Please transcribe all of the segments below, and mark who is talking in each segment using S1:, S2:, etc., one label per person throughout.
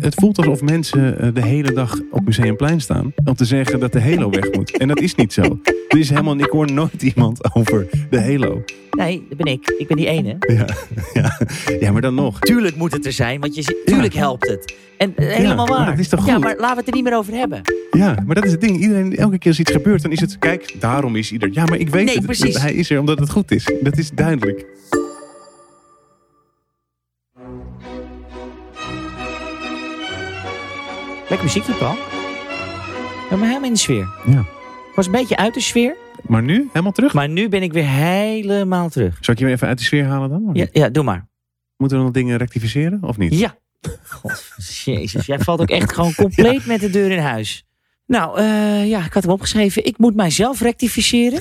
S1: het voelt alsof mensen eh, de hele dag op Museumplein staan. om te zeggen dat de Halo weg moet. En dat is niet zo. Er is helemaal, ik hoor nooit iemand over de Halo.
S2: Nee, dat ben ik. Ik ben die ene.
S1: Ja, ja. ja maar dan nog.
S2: Tuurlijk moet het er zijn, want je, zi- tuurlijk helpt het. En eh, helemaal
S1: maar
S2: waar.
S1: dat is toch
S2: Ja,
S1: goed?
S2: maar laten we het er niet meer over hebben.
S1: Ja, maar dat is het ding. Iedereen, elke keer als iets gebeurt, dan is het. Kijk, daarom is ieder. Ja, maar ik weet
S2: Nee,
S1: het.
S2: precies.
S1: dat Hij is er omdat het goed is. Dat is duidelijk.
S2: Lekker muziekje, Paul. Ik ben helemaal in de sfeer.
S1: Ja.
S2: Ik was een beetje uit de sfeer,
S1: Maar nu, helemaal terug.
S2: maar nu ben ik weer helemaal terug.
S1: Zal ik je weer even uit de sfeer halen dan? Of
S2: Ja,
S1: niet?
S2: ja doe maar.
S1: Moeten we nog dingen rectificeren of niet?
S2: Ja. God, jezus, jij valt ook echt gewoon compleet met de deur in huis. Nou, eh, ja, ik had hem opgeschreven. Ik moet mijzelf rectificeren.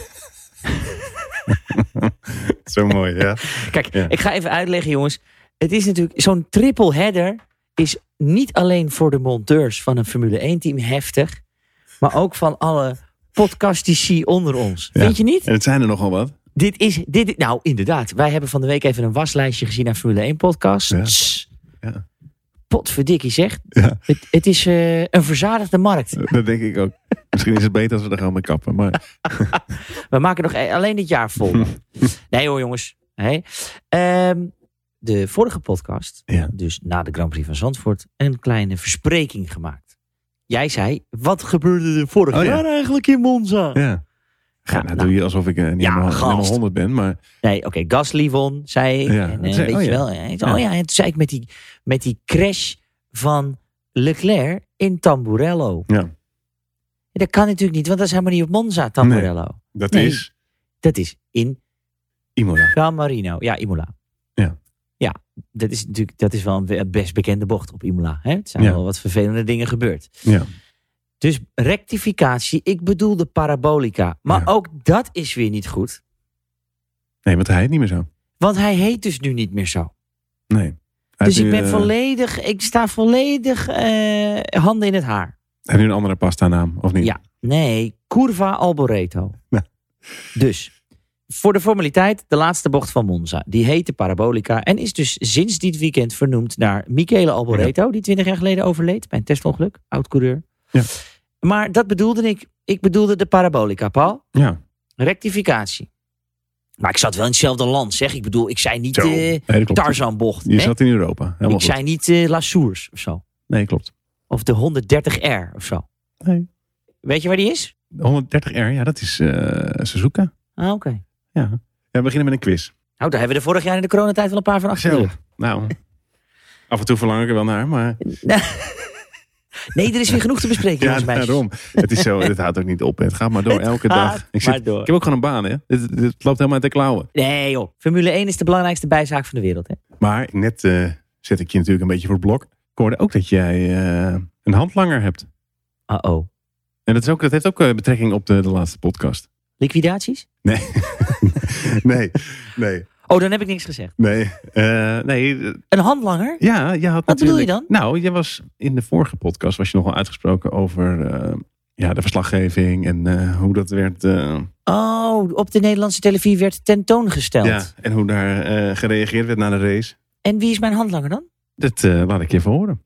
S1: Zo mooi, ja.
S2: Kijk,
S1: Ja.
S2: ik ga even uitleggen, jongens. Het is natuurlijk zo'n triple header is niet alleen voor de monteurs van een Formule 1 team heftig, maar ook van alle podcastici onder ons.
S1: Ja.
S2: Vind je niet?
S1: En het zijn er nogal wat.
S2: Dit is dit. is- Nou, inderdaad. Wij hebben van de week even een waslijstje gezien aan Formule 1 podcast.
S1: Ja.
S2: Tss.
S1: Ja.
S2: Potverdikkie zegt.
S1: Ja.
S2: Het, het is eh, een verzadigde markt.
S1: Dat denk ik ook. Misschien is het beter als we er gewoon mee kappen. Maar
S2: We maken nog e- alleen dit jaar vol. nee hoor, jongens. Hé. Ehm, de vorige podcast,
S1: Ja.
S2: dus na de Grand Prix van Zandvoort, een kleine verspreking gemaakt. Jij zei, wat gebeurde er vorig
S1: Oh ja.
S2: jaar eigenlijk in Monza?
S1: ja. Ga,
S2: Ja,
S1: nou,
S2: nou.
S1: doe je alsof ik eh, niet
S2: Ja,
S1: helemaal,
S2: gast.
S1: helemaal 100 ben. Maar
S2: Nee, oké, Gasly won, zei ik.
S1: Ja,
S2: en,
S1: dat
S2: eh,
S1: zei-
S2: weet
S1: oh
S2: je
S1: ja.
S2: wel. En,
S1: Ja.
S2: Oh ja, en toen zei ik met die, met die crash van Leclerc in Tamburello.
S1: Ja.
S2: Dat kan natuurlijk niet, want dat is helemaal niet op Monza, Tamburello.
S1: dat
S2: Nee.
S1: is
S2: Dat is in
S1: Imola.
S2: San Marino. Ja, Imola.
S1: Ja.
S2: Ja, dat is natuurlijk dat is wel een be- best bekende bocht op Imola. Hè? Het zijn
S1: Ja.
S2: wel wat vervelende dingen gebeurd.
S1: Ja.
S2: Dus rectificatie, ik bedoel de parabolica. Maar
S1: Ja.
S2: ook dat is weer niet goed.
S1: Nee, want hij heet niet meer zo.
S2: Want hij heet dus nu niet meer zo.
S1: Nee. Hij heeft
S2: Dus
S1: nu,
S2: ik ben
S1: eh,
S2: volledig, ik sta volledig eh, handen in het haar.
S1: Hij heeft nu een andere pasta naam, of niet?
S2: Ja. Nee, Curva Alboreto.
S1: Ja.
S2: Dus, voor de formaliteit, de laatste bocht van Monza. Die heette Parabolica en is dus sinds dit weekend vernoemd naar Michele Alboreto, die 20 jaar geleden overleed bij een testongeluk, oud-coureur.
S1: Ja.
S2: Maar dat bedoelde ik. Ik bedoelde de Parabolica, Paul.
S1: Ja.
S2: Rectificatie. Maar ik zat wel in hetzelfde land, zeg. Ik bedoel, ik zei niet
S1: Zo.
S2: eh
S1: Nee, dat klopt.
S2: Tarzanbocht.
S1: Je
S2: hè?
S1: zat in Europa. Helemaal
S2: Ik
S1: goed.
S2: zei niet eh La Source of zo.
S1: Nee, klopt.
S2: Of de 130R of zo.
S1: Nee.
S2: Weet je waar die is?
S1: 130R, ja, dat is eh Suzuka.
S2: Ah, oké.
S1: Ja, we beginnen met een quiz.
S2: Nou, daar hebben we er vorig jaar in de coronatijd wel een paar van achter. de
S1: Zo.
S2: rug.
S1: Nou, af en toe verlang ik er wel naar, maar...
S2: Nee, er is weer genoeg te bespreken,
S1: Ja,
S2: jongens, meisjes.
S1: daarom. Het is zo, het houdt ook niet op. Het gaat maar door, elke dag.
S2: Gaat
S1: Ik,
S2: maar
S1: zit,
S2: door.
S1: ik heb ook gewoon een baan, hè. Het, het loopt helemaal uit de klauwen.
S2: Nee, joh. Formule 1 is de belangrijkste bijzaak van de wereld, hè?
S1: Maar net eh, zet ik je natuurlijk een beetje voor het blok. Ik hoorde ook dat jij eh, een handlanger hebt.
S2: Uh-oh.
S1: En dat, is ook, dat heeft ook eh, betrekking op de, de laatste podcast.
S2: Liquidaties?
S1: Nee. nee, nee,
S2: Oh, dan heb ik niks gezegd.
S1: nee. Eh, nee, eh,
S2: Een handlanger?
S1: ja, je had
S2: Wat bedoel je
S1: natuurlijk-
S2: dan?
S1: Nou, je was in de vorige podcast was je nogal uitgesproken over eh, ja, de verslaggeving en eh, hoe dat werd... eh,
S2: Oh, op de Nederlandse televisie werd tentoongesteld.
S1: ja, en hoe daar eh, gereageerd werd na de race.
S2: En wie is mijn handlanger dan?
S1: Dat eh, laat ik je even horen.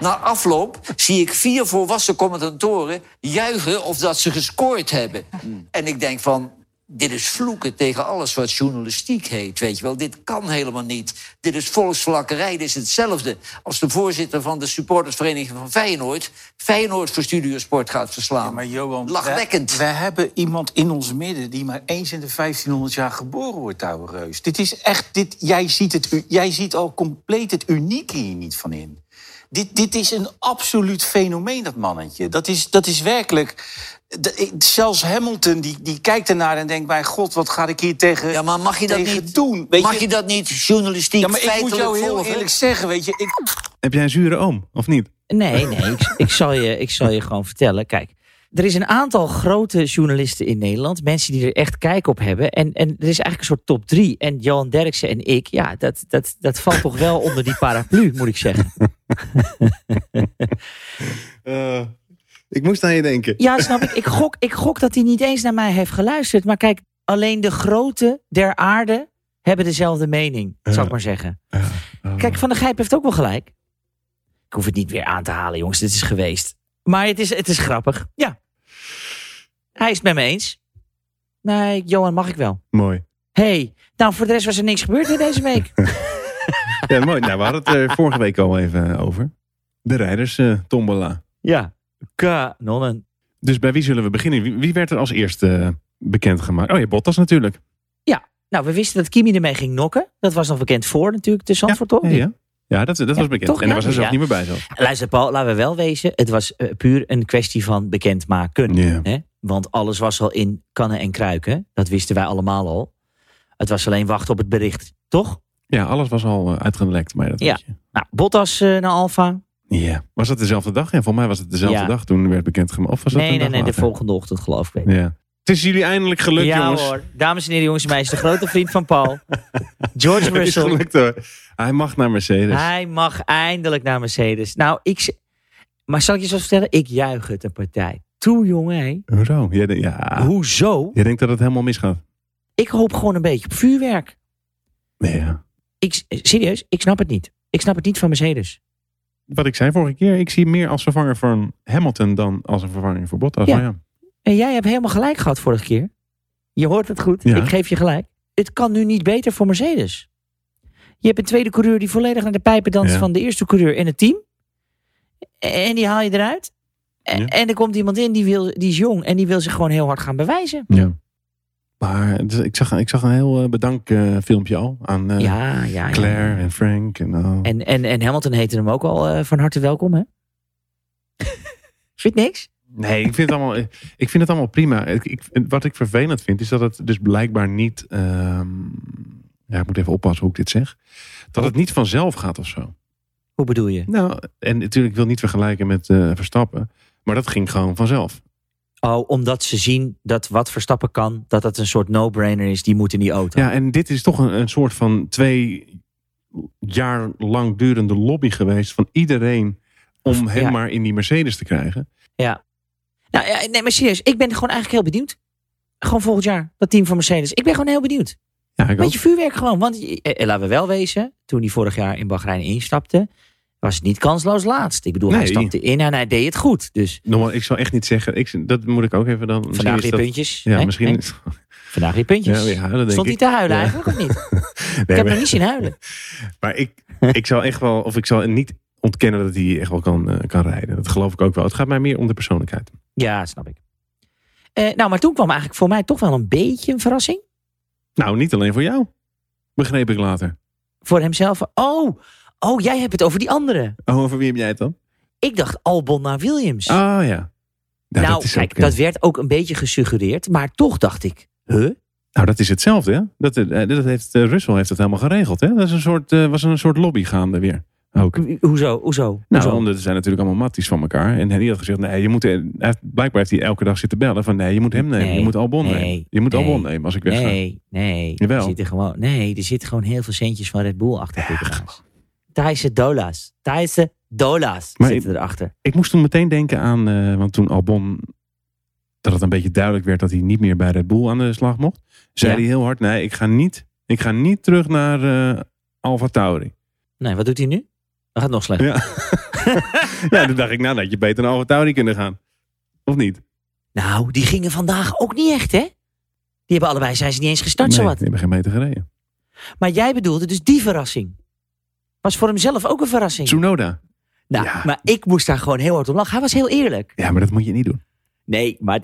S3: Na afloop zie ik vier volwassen commentatoren juichen of dat ze gescoord hebben.
S4: Hmm.
S3: En ik denk van, dit is vloeken tegen alles wat journalistiek heet, weet je wel. Dit kan helemaal niet. Dit is volksvlakkerij, dit is hetzelfde als de voorzitter van de supportersvereniging van Feyenoord... Feyenoord voor Studiosport gaat verslaan.
S4: Ja, maar Johan,
S3: Lachwekkend.
S4: We, hebben iemand in ons midden die maar eens in de 1500 jaar geboren wordt, ouwe reus. Dit is echt, dit, jij, ziet het, u- jij ziet al compleet het unieke hier niet van in. Dit, dit is een absoluut fenomeen, dat mannetje. Dat is, dat is werkelijk... d- ik- Zelfs Hamilton, die, die kijkt ernaar en denkt... mijn god, wat ga ik hier tegen
S3: Ja, maar mag je dat
S4: tegen
S3: niet
S4: doen? Weet
S3: Mag je dat niet journalistiek
S4: ja, maar ik moet
S3: feitelijk
S4: jou heel
S3: volgen?
S4: eerlijk zeggen, weet je... Ik,
S1: Heb jij een zure oom, of niet?
S2: Nee, nee, ik, ik, zal je, ik zal je gewoon vertellen. Kijk, er is een aantal grote journalisten in Nederland. Mensen die er echt kijk op hebben. En, en er is eigenlijk een soort top drie. En Johan Derksen en ik, ja, dat, dat, dat valt toch wel onder die paraplu, moet ik zeggen.
S1: Eh, ik moest aan je denken.
S2: Ja, snap ik. Ik gok, ik gok dat hij niet eens naar mij heeft geluisterd. Maar kijk, alleen de grote der aarde hebben dezelfde mening, zou ik maar zeggen. Kijk, Van der Gijp heeft ook wel gelijk. Ik hoef het niet weer aan te halen, jongens. Dit is geweest. Maar het is, het is grappig. Ja. Hij is het met me eens. Nee, Johan, mag ik wel.
S1: Mooi.
S2: hey, nou voor de rest was er niks gebeurd hè, deze week.
S1: Ja, mooi. Nou, we hadden het er vorige week al even over. De rijders eh, tombola.
S2: ja, kanonnen.
S1: Dus bij wie zullen we beginnen? Wie, wie werd er als eerste eh, bekendgemaakt? Oh ja, Bottas natuurlijk.
S2: Nou, we wisten dat Kimi ermee ging nokken. Dat was nog bekend voor natuurlijk, tussen
S1: Ja,
S2: Zandvoort toch?
S1: Ja, ja. ja dat, dat was bekend.
S2: toch,
S1: en daar
S2: Oh, ja,
S1: was hij
S2: dus
S1: zelf
S2: ja.
S1: niet meer bij zelf.
S2: Luister Paul, laten we wel wezen. Het was eh, puur een kwestie van bekendmaken.
S1: Ja.
S2: Hè? Want alles was al in kannen en kruiken. Dat wisten wij allemaal al. Het was alleen wachten op het bericht, toch?
S1: Ja, alles was al eh, uitgelekt. Maar dat
S2: Ja.
S1: weet je.
S2: Nou, Bottas eh, naar Alfa.
S1: Ja. Was dat dezelfde dag? Ja, voor mij was het dezelfde
S2: Ja.
S1: dag toen werd bekendgemaakt. Of was dat
S2: Nee,
S1: een
S2: nee,
S1: dag
S2: nee, de
S1: later?
S2: volgende ochtend geloof ik.
S1: Ja. Het is jullie eindelijk gelukt,
S2: ja
S1: jongens.
S2: hoor, dames en heren, jongens en meisjes. De grote vriend van Paul, George
S1: Het is
S2: Russell.
S1: gelukt hoor. Hij mag naar Mercedes.
S2: Hij mag eindelijk naar Mercedes. Nou, ik... z- Maar zal ik je zo vertellen? Ik juich het een partij. Toe, jongen, hé.
S1: Hoezo? Jij, denkt- ja.
S2: Hoezo?
S1: Jij denkt dat het helemaal misgaat?
S2: Ik hoop gewoon een beetje op vuurwerk.
S1: Nee, ja.
S2: Ik, serieus, ik snap het niet. Ik snap het niet van Mercedes.
S1: Wat ik zei vorige keer, ik zie hem meer als vervanger van Hamilton dan als een vervanger voor Bottas.
S2: Ja.
S1: Maar ja.
S2: En jij hebt helemaal gelijk gehad vorige keer. Je hoort het goed.
S1: Ja.
S2: Ik geef je gelijk. Het kan nu niet beter voor Mercedes. Je hebt een tweede coureur die volledig naar de pijpen danst
S1: Ja.
S2: van de eerste coureur in het team. En die haal je eruit. En,
S1: Ja.
S2: en er komt iemand in die, wil, die is jong en die wil zich gewoon heel hard gaan bewijzen.
S1: ja. Maar het is- ik, zag, ik zag een heel eh, bedank eh, filmpje al aan eh,
S2: ja, ja. ja.
S1: Claire en Frank. En, eh, al.
S2: En, en, en Hamilton heette hem ook al eh, van harte welkom, hè? Vind je niks?
S1: Nee, ik vind, het allemaal, ik vind het allemaal prima. Ik, ik- wat ik vervelend vind, is dat het dus blijkbaar niet... ehm, ja, ik moet even oppassen hoe ik dit zeg. Dat het niet vanzelf gaat of zo.
S2: Hoe bedoel je?
S1: Nou, en natuurlijk ik wil niet vergelijken met eh, Verstappen. Maar dat ging gewoon vanzelf.
S2: Oh, omdat ze zien dat wat Verstappen kan, dat dat een soort no-brainer is. Die moet in die auto.
S1: Ja, en dit is toch een, een soort van twee jaar lang durende lobby geweest van iedereen om hem
S2: Ja.
S1: maar in die Mercedes te krijgen.
S2: Nou, ja, nee, maar serieus. Ik ben gewoon eigenlijk heel benieuwd. Gewoon volgend jaar, dat team van Mercedes. Ik ben gewoon heel benieuwd.
S1: Ja, ik ook.
S2: Beetje vuurwerk gewoon. Want je- eh, eh, laten we wel wezen, toen hij vorig jaar in Bahrein instapte, was het niet kansloos laatst. Ik bedoel, hij
S1: Nee.
S2: stapte in en hij deed het goed. Dus
S1: Nogmaals, ik zal echt niet zeggen. Ik, dat moet ik ook even dan. misschien
S2: vandaag
S1: is
S2: weer
S1: dat-
S2: puntjes.
S1: Ja,
S2: Hè?
S1: misschien.
S2: Hè? Vandaag weer puntjes.
S1: Ja, ja, dat denk
S2: Stond
S1: ik.
S2: hij te huilen
S1: Ja.
S2: eigenlijk of niet? Ik
S1: Nee,
S2: heb
S1: maar,
S2: hem niet zien huilen.
S1: maar ik, ik zal echt wel, of ik zal niet ontkennen dat hij echt wel kan, eh, kan rijden. Dat geloof ik ook wel. Het gaat mij meer om de persoonlijkheid.
S2: Ja, snap ik. Eh, nou, maar toen kwam eigenlijk voor mij toch wel een beetje een verrassing.
S1: Nou, niet alleen voor jou. Begreep ik later.
S2: voor hemzelf. Oh, oh, jij hebt het over die andere.
S1: Oh, over wie heb jij het dan?
S2: Ik dacht Albon naar Williams.
S1: Oh ja. Nou,
S2: nou,
S1: dat is
S2: kijk,
S1: ook, eh,
S2: dat werd ook een beetje gesuggereerd. Maar toch dacht ik, huh?
S1: Nou, dat is hetzelfde, hè? Dat, eh, dat heeft, eh, Russell heeft dat helemaal geregeld, hè? Dat is een soort, eh, was een soort lobby gaande weer. Ook. Nou,
S2: Hoezo, hoezo? hoezo?
S1: omdat ze zijn natuurlijk allemaal matties van elkaar. En die had gezegd, nee, je moet... eh, hij heeft- Blijkbaar heeft hij elke dag zitten bellen van... Nee, je moet hem nemen,
S2: Nee,
S1: je moet Albon
S2: nee,
S1: nemen. Je moet
S2: nee,
S1: Albon nemen als ik wegga.
S2: Nee, nee.
S1: Jawel.
S2: Er zitten gewoon, nee, er zitten gewoon heel veel centjes van Red Bull achter. dit trouwens. Thaise dollars. Thaise dollars
S1: Maar
S2: zitten erachter.
S1: Ik moest toen meteen denken aan... eh, want toen Albon... Dat het een beetje duidelijk werd dat hij niet meer bij Red Bull aan de slag mocht. Zei
S2: Ja.
S1: hij heel hard, nee, ik ga niet, ik ga niet terug naar eh Alfa Tauri.
S2: Nee, wat doet hij nu? Dat gaat nog slechter.
S1: Ja. ja, toen dacht ik, nou, dat had je beter naar Alfa Tauri kunnen gaan. Of niet?
S2: Nou, die gingen vandaag ook niet echt, hè? Die hebben allebei, zijn ze niet eens gestart, zo
S1: nee,
S2: wat.
S1: Die hebben geen meter gereden.
S2: Maar jij bedoelde dus die verrassing. Was voor hemzelf ook een verrassing.
S1: Tsunoda.
S2: nou,
S1: ja.
S2: maar ik moest daar gewoon heel hard om lachen. Hij was heel eerlijk.
S1: Ja, maar dat moet je niet doen.
S2: Nee, maar...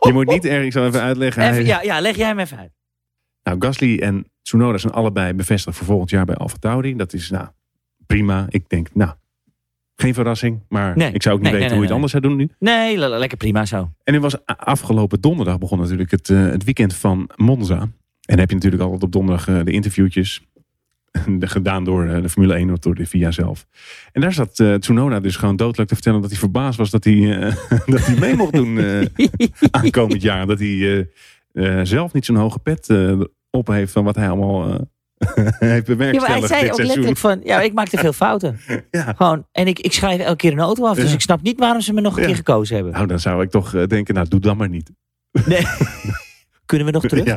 S1: Je moet niet erg, ik zal even uitleggen.
S2: Even,
S1: Hij-
S2: ja, ja, leg jij hem even uit.
S1: Nou, Gasly en Tsunoda zijn allebei bevestigd voor volgend jaar bij Alfa Tauri. Dat is, nou, prima. Ik denk, nou, geen verrassing. Maar
S2: Nee,
S1: ik zou ook niet
S2: nee,
S1: weten hoe
S2: nee,
S1: je het anders
S2: nee,
S1: zou doen nu.
S2: Nee, le- le- lekker prima zo.
S1: En nu was a- afgelopen donderdag begon natuurlijk het, eh, het weekend van Monza. En dan heb je natuurlijk altijd op donderdag eh, de interviewtjes. De- Gedaan door eh, de Formule 1 of door de VIA zelf. En daar zat eh, Tsunoda dus gewoon dodelijk te vertellen dat hij verbaasd was dat hij, eh, dat hij mee mocht doen eh, aankomend jaar. Dat hij eh, eh, zelf niet zo'n hoge pet eh, op heeft van wat hij allemaal eh, heeft
S2: Ja, maar hij
S1: bewerkstelligd
S2: zei
S1: dit
S2: ook
S1: seizoen.
S2: letterlijk van... Ja, ik maak te veel fouten.
S1: Ja.
S2: Gewoon, en ik, ik schrijf elke keer een auto af. Dus
S1: Ja.
S2: ik snap niet waarom ze me nog een
S1: Ja.
S2: keer gekozen hebben.
S1: Nou, dan zou ik toch eh, denken, nou doe dat maar niet.
S2: Nee. Kunnen we nog terug?
S1: Ja.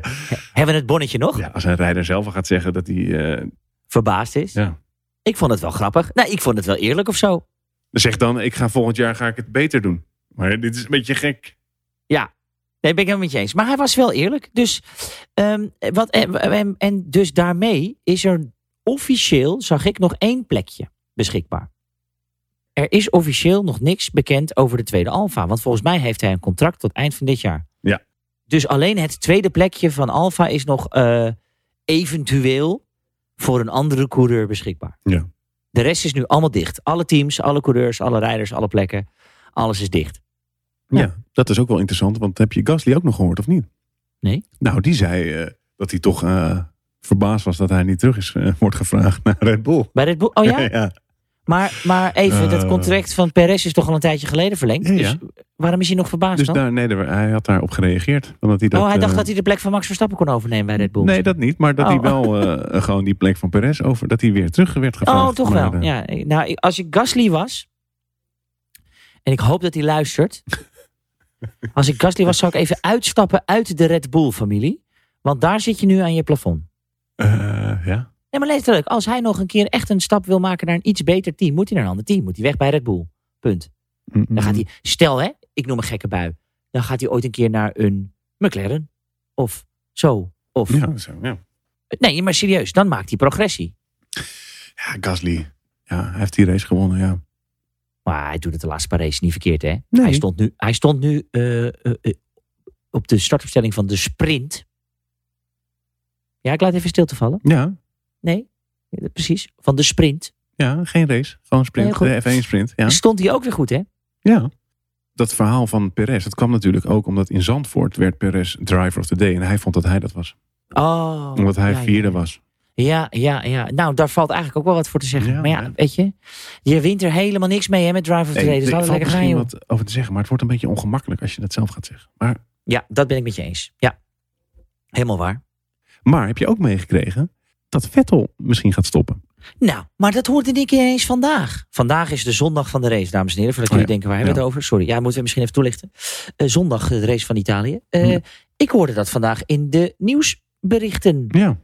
S2: Hebben we het bonnetje nog?
S1: Ja, als een rijder zelf al gaat zeggen dat hij eh,
S2: Verbaasd is?
S1: Ja.
S2: Ik vond het wel grappig. Nou, ik vond het wel eerlijk of zo.
S1: Zeg dan, ik ga volgend jaar ga ik het beter doen. Maar dit is een beetje gek.
S2: Nee, ben ik helemaal met je eens. Maar hij was wel eerlijk. Dus, ehm, wat, en, en- en dus daarmee is er officieel, zag ik, nog één plekje beschikbaar. Er is officieel nog niks bekend over de tweede Alfa. Want volgens mij heeft hij een contract tot eind van dit jaar.
S1: Ja.
S2: Dus alleen het tweede plekje van Alfa is nog eh, eventueel voor een andere coureur beschikbaar.
S1: Ja.
S2: De rest is nu allemaal dicht. Alle teams, alle coureurs, alle rijders, alle plekken. Alles is dicht.
S1: Ja. dat is ook wel interessant. Want heb je Gasly ook nog gehoord of niet?
S2: Nee.
S1: Nou, die zei eh, dat hij toch eh, verbaasd was dat hij niet terug is, eh, wordt gevraagd naar Red Bull.
S2: Bij Red Bull. Oh ja?
S1: ja.
S2: Maar, maar even, dat
S1: Eh.
S2: contract van Perez is toch al een tijdje geleden verlengd.
S1: Ja, ja.
S2: Dus waarom is hij nog verbaasd
S1: Dus
S2: dan?
S1: daar, nee, daar- hij had daarop gereageerd. Omdat hij dat,
S2: oh, hij dacht
S1: eh,
S2: dat hij de plek van Max Verstappen kon overnemen bij Red Bull.
S1: Nee, dat niet. Maar dat hij
S2: Oh.
S1: wel eh, gewoon die plek van Perez over. Dat hij weer terug werd gevraagd.
S2: oh, toch
S1: Maar,
S2: wel.
S1: eh,
S2: Ja, ik- nou, ik- als ik Gasly was, en ik hoop dat hij luistert. als ik Gasly was, zou ik even uitstappen uit de Red Bull-familie. Want daar zit je nu aan je plafond.
S1: eh, ja.
S2: Nee, maar letterlijk, als hij nog een keer echt een stap wil maken naar een iets beter team, moet hij naar een ander team. Moet hij weg bij Red Bull. Punt. Dan
S1: Mhm.
S2: gaat hij, stel hè, ik noem een gekke bui. Dan gaat hij ooit een keer naar een McLaren. Of zo. Of, eh,
S1: Ja, zo, ja.
S2: Nee, maar serieus, dan maakt hij progressie.
S1: ja, Gasly. Ja, hij heeft die race gewonnen, ja.
S2: Maar hij doet het de laatste paar races niet verkeerd, hè?
S1: Nee.
S2: Hij stond nu, hij stond nu eh, eh, eh, op de startopstelling van de sprint. Ja, ik laat even stil te vallen.
S1: Ja,
S2: Nee, ja, precies. Van de sprint.
S1: ja geen race. Gewoon
S2: Nee,
S1: sprint.
S2: goed.
S1: de F1 sprint. Ja.
S2: Stond hij ook weer goed, hè?
S1: ja. Dat verhaal van Perez, dat kwam natuurlijk ook omdat in Zandvoort werd Perez driver of the day. En hij vond dat hij dat was.
S2: Oh,
S1: Omdat hij
S2: ja, ja,
S1: vierde was.
S2: Ja, ja, ja. Nou, daar valt eigenlijk ook wel wat voor te zeggen.
S1: Ja,
S2: maar ja,
S1: ja.
S2: weet je, je wint er helemaal niks mee hè, met Drive of the Day. Dus
S1: er
S2: laten we
S1: valt
S2: lekker gaan,
S1: misschien
S2: joh.
S1: wat over te zeggen, maar het wordt een beetje ongemakkelijk als je dat zelf gaat zeggen. Maar
S2: Ja, dat ben ik met je eens. Ja, helemaal waar.
S1: Maar heb je ook meegekregen dat Vettel misschien gaat stoppen?
S2: Nou, maar dat hoort er niet eens vandaag. Vandaag is de zondag van de race, dames en heren. Voordat
S1: Oh
S2: jullie denken, waar hebben we het over? Sorry, ja, moeten we misschien even toelichten. Eh, zondag eh, de race van Italië. Eh,
S1: Ja.
S2: Ik hoorde dat vandaag in de nieuwsberichten.
S1: Ja.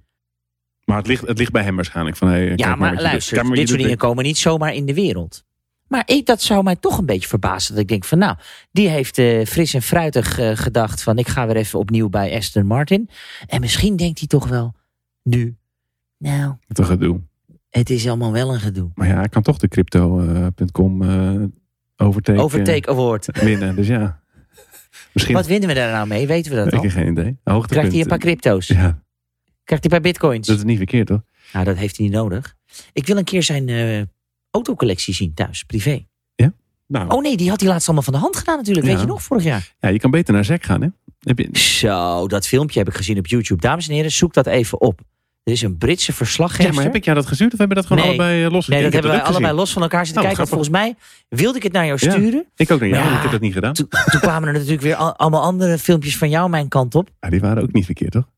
S1: Maar het ligt, het ligt bij hem waarschijnlijk. Van, hey, kijk
S2: Ja,
S1: wat je
S2: maar
S1: doet.
S2: luister,
S1: Kijk maar wat
S2: dit
S1: je
S2: soort dingen
S1: doet.
S2: komen niet zomaar in de wereld. Maar ik, dat zou mij toch een beetje verbazen. Dat ik denk van nou, die heeft eh, fris en fruitig eh, gedacht van ik ga weer even opnieuw bij Aston Martin. En misschien denkt hij toch wel nu, nou,
S1: Wat een gedoe.
S2: het is allemaal wel een gedoe.
S1: Maar ja, hij kan toch de crypto.com eh overtake,
S2: Overtake award.
S1: eh, winnen. Dus ja, misschien
S2: Wat winnen we daar nou mee? Weten we dat
S1: heb
S2: al?
S1: ik geen idee. Hoogtepunt. eh,
S2: Krijgt hij een paar crypto's?
S1: Ja,
S2: Krijgt hij een paar bitcoins?
S1: dat is niet verkeerd toch?
S2: Nou, dat heeft hij niet nodig. Ik wil een keer zijn eh, autocollectie zien thuis, privé.
S1: Nou,
S2: Oh nee, die had hij laatst allemaal van de hand gedaan natuurlijk.
S1: Ja.
S2: Weet je nog, vorig jaar.
S1: ja, je kan beter naar ZEC gaan hè. Heb je...
S2: Zo, dat filmpje heb ik gezien op YouTube. Dames en heren, zoek dat even op. Er is een Britse
S1: Ja,
S2: verslaggever.
S1: maar heb ik jou dat gestuurd of hebben we dat gewoon
S2: Nee.
S1: allebei eh, los?
S2: Nee,
S1: Ik
S2: dat
S1: heb
S2: hebben wij
S1: ook gezien.
S2: allebei los van elkaar zitten
S1: Oh,
S2: kijken. Want
S1: grappig.
S2: volgens mij wilde ik het naar jou
S1: Ja.
S2: sturen.
S1: Ik ook naar jou, want
S2: Maar
S1: ik
S2: ja,
S1: heb dat niet gedaan.
S2: Toen, toen kwamen er natuurlijk weer al- allemaal andere filmpjes van jou mijn kant op.
S1: Ja, Ah, die waren ook niet verkeerd toch?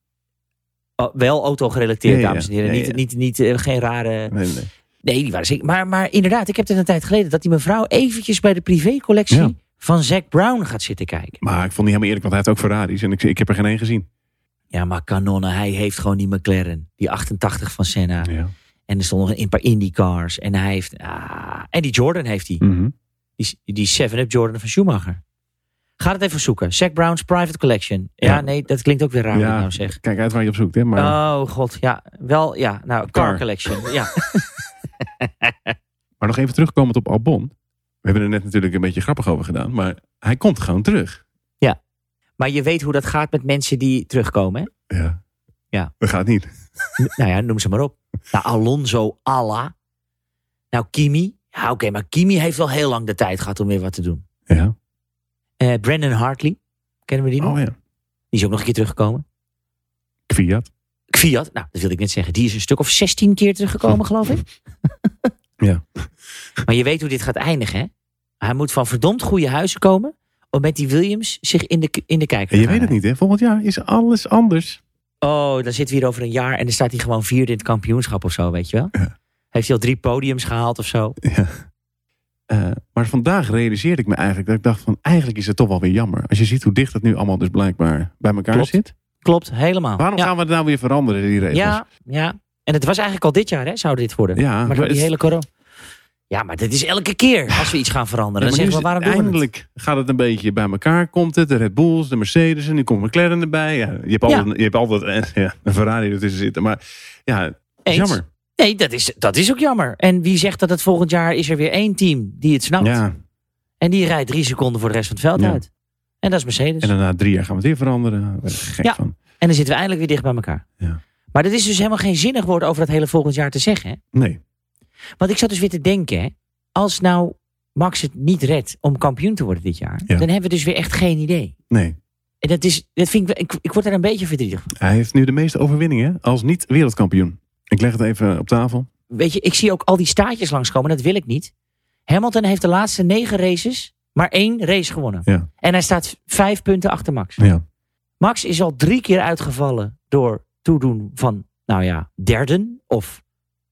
S2: Oh, wel auto-gerelateerd,
S1: Ja, ja,
S2: dames en heren.
S1: ja, ja.
S2: Niet, niet, niet, eh, geen rare...
S1: Nee, nee, nee.
S2: Nee, die waren zeker... Maar, maar inderdaad, ik heb het een tijd geleden... dat die mevrouw eventjes bij de privécollectie
S1: Ja.
S2: van Zac Brown gaat zitten kijken.
S1: Maar ik vond niet helemaal eerlijk, want hij heeft ook Ferraris. En ik, ik heb er geen één gezien.
S2: Ja, maar kanonnen, hij heeft gewoon die McLaren. Die 88 van Senna.
S1: Ja.
S2: En er stonden nog een paar IndyCars. En hij heeft. Ah, en die Jordan heeft hij.
S1: Mhm.
S2: Die, die 7-Up Jordan van Schumacher. Ga het even zoeken. Zack Brown's Private Collection. Ja,
S1: Ja.
S2: nee, dat klinkt ook weer raar. wat ik
S1: Ja.
S2: nou zeg.
S1: Kijk uit waar je op zoekt, hè? Maar
S2: Oh, god. Ja, wel. Ja, nou, Car,
S1: Car.
S2: Collection. Ja.
S1: Maar nog even terugkomend op Albon. We hebben er net natuurlijk een beetje grappig over gedaan, maar hij komt gewoon terug.
S2: Maar je weet hoe dat gaat met mensen die terugkomen. Hè?
S1: Ja.
S2: Ja.
S1: Dat gaat niet.
S2: nou ja, noem ze maar op. Nou, Alonso, Alla. Nou, Kimi. Ja, oké, maar Kimi heeft wel heel lang de tijd gehad om weer wat te doen.
S1: Ja.
S2: Eh Brandon Hartley. Kennen we die nog?
S1: Oh ja.
S2: Die is ook nog een keer teruggekomen.
S1: Fiat.
S2: Fiat, nou, dat wilde ik net zeggen. Die is een stuk of 16 keer teruggekomen, geloof ik.
S1: Ja.
S2: Maar je weet hoe dit gaat eindigen, hè? Hij moet van verdomd goede huizen komen... om met die Williams zich in de, in de kijker
S1: En
S2: te
S1: je
S2: gaan
S1: weet het niet, hè? Volgend jaar is alles anders.
S2: rijden. Oh, dan zitten we hier over een jaar... en dan staat hij gewoon vierde in het kampioenschap of zo, weet je wel?
S1: Ja.
S2: Heeft hij al drie podiums gehaald of zo?
S1: Ja. Eh, maar vandaag realiseerde ik me eigenlijk dat ik dacht van eigenlijk is het toch wel weer jammer. Als je ziet hoe dicht het nu allemaal dus blijkbaar bij elkaar
S2: Klopt.
S1: zit.
S2: Klopt, helemaal.
S1: Waarom
S2: ja.
S1: gaan we het nou weer veranderen, die regels?
S2: Ja, ja. En En het was eigenlijk al dit jaar, hè, zou dit worden.
S1: Ja,
S2: maar
S1: maar
S2: door die
S1: het-
S2: hele corona. Ja, maar dit is elke keer als we iets gaan veranderen.
S1: Ja, maar
S2: dan
S1: nu
S2: zeggen we, waarom
S1: is het-
S2: doen we het?
S1: Eindelijk gaat het een beetje bij elkaar. Komt het, de Red Bulls, de Mercedes en nu komt McLaren erbij. Ja, je, hebt altijd, je hebt altijd eh, ja, een Ferrari ertussen zitten. Maar ja,
S2: Eens.
S1: jammer.
S2: Nee, dat is, dat is ook jammer. En wie zegt dat het volgend jaar is er weer één team die Nou, het snapt.
S1: Ja,
S2: En die rijdt drie seconden voor de rest van het veld
S1: Ja.
S2: uit. En dat is Mercedes.
S1: en
S2: En dan,
S1: daarna drie jaar gaan we het weer veranderen. Daar ben ik gek
S2: Ja.
S1: van.
S2: zitten we eindelijk weer dicht bij elkaar.
S1: Ja.
S2: Maar dat is dus helemaal geen zinnig woord over dat hele volgend jaar te zeggen. Hè?
S1: Nee.
S2: Want ik zat dus weer te denken, hè, als nou Max het niet redt om kampioen te worden dit jaar,
S1: Ja.
S2: dan hebben we dus weer echt geen idee.
S1: Nee,
S2: En dat is, dat vind ik, wel- ik, ik word daar een beetje verdrietig van.
S1: hij heeft nu de meeste overwinningen als niet wereldkampioen. Ik leg het even op tafel.
S2: Weet je, ik zie ook al die staartjes langskomen, dat wil ik niet. Hamilton heeft de laatste negen races maar één race gewonnen.
S1: Ja.
S2: En hij staat vijf punten achter Max.
S1: Ja,
S2: Max is al drie keer uitgevallen door toedoen van, nou ja, derden of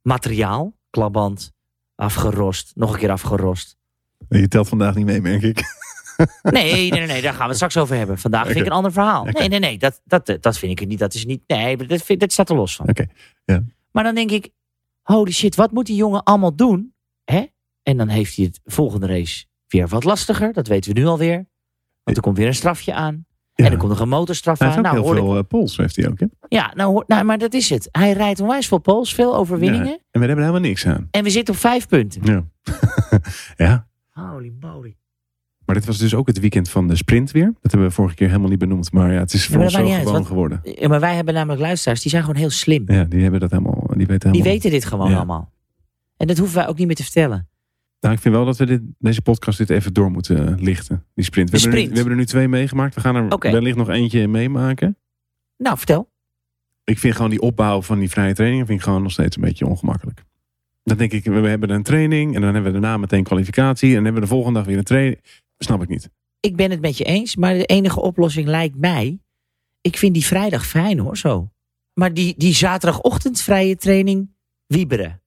S2: materiaal. Klabband, afgerost, nog een keer afgerost.
S1: je telt vandaag niet mee, merk ik.
S2: Nee, nee, nee, nee, daar gaan we het straks over hebben. Vandaag vind ik
S1: Oké.
S2: een ander verhaal.
S1: Oké.
S2: Nee, nee, nee, dat, dat, dat vind ik niet. Dat is niet. Nee, maar dat, vind, dat staat er los van.
S1: Oké, ja.
S2: Maar dan denk ik, holy shit, wat moet die jongen allemaal doen? Hè? En dan heeft hij het volgende race weer wat lastiger. Dat weten we nu alweer. Want er komt weer een strafje aan.
S1: Ja.
S2: En er komt nog een motorstraf
S1: Hij heeft
S2: aan.
S1: ook
S2: Nou,
S1: heel
S2: hoor ik-
S1: veel eh, pols, heeft hij ook. Hè?
S2: ja, nou, hoor- nou, maar dat is het. Hij rijdt onwijs veel pols, veel overwinningen.
S1: Ja, En we hebben er helemaal niks aan.
S2: En we zitten op vijf punten.
S1: Ja. ja,
S2: Holy moly.
S1: maar dit was dus ook het weekend van de sprint weer. Dat hebben we vorige keer helemaal niet benoemd. Maar ja, het is voor
S2: maar
S1: ons
S2: dat
S1: zo
S2: maakt
S1: gewoon
S2: niet uit, want-
S1: geworden.
S2: Ja, maar wij hebben namelijk luisteraars, die zijn gewoon heel slim.
S1: Ja, die hebben dat helemaal. Die weten
S2: Die
S1: helemaal.
S2: weten dit gewoon
S1: Ja.
S2: allemaal. En dat hoeven wij ook niet meer te vertellen.
S1: Nou, ik vind wel dat we dit, deze podcast dit even door moeten eh, lichten. Die sprint. We,
S2: De
S1: hebben, Er nu,
S2: sprint.
S1: we hebben er nu twee meegemaakt. We gaan er
S2: Oké.
S1: wellicht nog eentje meemaken.
S2: Nou, vertel.
S1: Ik vind gewoon die opbouw van die vrije training vind ik gewoon nog steeds een beetje ongemakkelijk. Dan denk ik, we hebben een training en dan hebben we daarna meteen kwalificatie. En dan hebben we de volgende dag weer een training. Snap ik niet.
S2: Ik ben het met je eens, maar de enige oplossing lijkt mij. Ik vind die vrijdag fijn hoor, zo. Maar die, die zaterdagochtend vrije training, wieberen.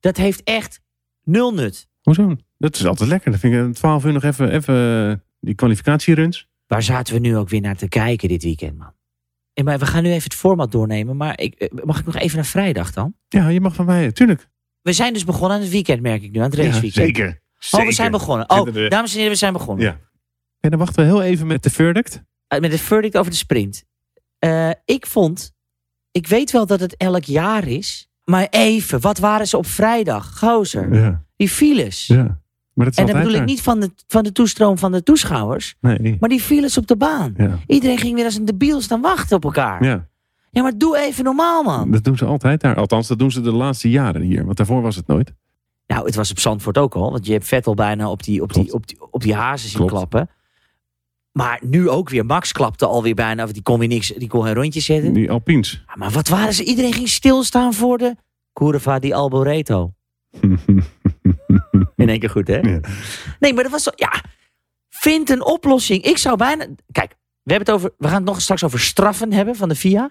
S2: Dat heeft echt nul nut.
S1: Hoezo? Dat is altijd lekker. Dan vind ik eh, 12 uur nog even, even eh, die kwalificatieruns.
S2: Waar zaten we nu ook weer naar te kijken dit weekend, man? En maar we gaan nu even het format doornemen, maar ik, eh, mag ik nog even naar vrijdag dan?
S1: Ja, je mag van mij, eh, tuurlijk.
S2: We zijn dus begonnen aan het weekend, merk ik nu, aan het
S1: Ja,
S2: raceweekend.
S1: zeker.
S2: Oh,
S1: Zeker.
S2: we zijn begonnen. Oh,
S1: Zitten we-
S2: dames en heren, we zijn begonnen.
S1: Ja. En dan wachten we heel even met de verdict.
S2: Uh, met het verdict over de sprint. Eh, ik vond, ik weet wel dat het elk jaar is, maar even, wat waren ze op vrijdag? Gozer,
S1: Ja,
S2: die files.
S1: ja. Maar dat is
S2: en
S1: altijd
S2: dan bedoel ik
S1: daar.
S2: niet van de, van de toestroom van de toeschouwers,
S1: Nee.
S2: maar die files op de baan.
S1: Ja.
S2: Iedereen ging weer als een debiel staan wachten op elkaar. Ja,
S1: ja,
S2: maar doe even normaal, man.
S1: dat doen ze altijd daar. Althans, dat doen ze de laatste jaren hier. Want daarvoor was het nooit.
S2: Nou, het was op Zandvoort ook al, want je hebt Vettel bijna op die, op die,
S1: Klopt.
S2: op die, op die hazen zien
S1: Klopt.
S2: klappen. Maar nu ook weer. Max klapte alweer bijna, want die kon weer niks, die kon geen rondje zetten.
S1: Die Alpines.
S2: Ja, maar wat waren ze? Iedereen ging stilstaan voor de Curva di Alboreto. In één keer goed, hè?
S1: Ja.
S2: Nee, maar dat was zo... Ja, vind een oplossing. Ik zou bijna... Kijk, we, hebben het over, we gaan het nog straks over straffen hebben van de FIA.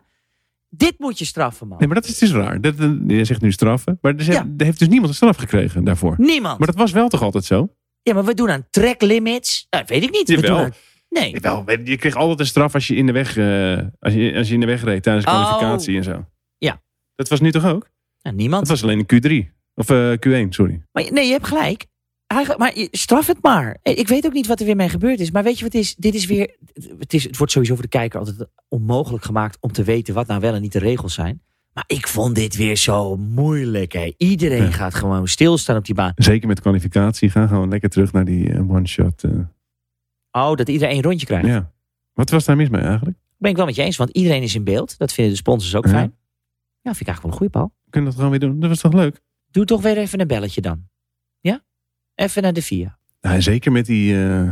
S2: Dit moet je straffen, man.
S1: Nee, maar dat is dus raar. Dat, dat- je zegt nu straffen. Maar er, zijn-
S2: Ja.
S1: er heeft dus niemand een straf gekregen daarvoor.
S2: Niemand.
S1: Maar dat was wel toch altijd zo?
S2: Ja, maar we doen aan track limits. Nou, weet ik niet. We
S1: Jawel.
S2: doen aan... Nee.
S1: Jawel, weet je je kreeg altijd een straf als je in de weg, eh, als je, als je in de weg reed tijdens de
S2: Oh.
S1: kwalificatie en zo.
S2: Ja.
S1: Dat was nu toch ook?
S2: Nou,
S1: Dat
S2: niemand.
S1: was alleen in Q3. Of eh, Q1, sorry.
S2: Maar, nee, je hebt gelijk. Eigenlijk- Maar je- straf het maar. Eh, Ik weet ook niet wat er weer mee gebeurd is. Maar weet je wat het is? Dit is weer. Het, is, het wordt sowieso voor de kijker altijd onmogelijk gemaakt om te weten wat nou wel en niet de regels zijn. Maar ik vond dit weer zo moeilijk. Hè. Iedereen
S1: Ja.
S2: gaat gewoon stilstaan op die baan.
S1: Zeker met kwalificatie. Ga gewoon lekker terug naar die eh, one-shot. eh.
S2: Oh, dat iedereen een rondje krijgt.
S1: ja. Wat was daar mis mee eigenlijk?
S2: Ben ik wel met je eens, want iedereen is in beeld. Dat vinden de sponsors ook
S1: Ja.
S2: fijn. Ja, vind ik eigenlijk wel een goede paal.
S1: Kunnen we dat gewoon weer doen? Dat was toch leuk?
S2: Doe toch weer even een belletje dan. Ja? Even naar de VIA.
S1: Nou, zeker met die eh,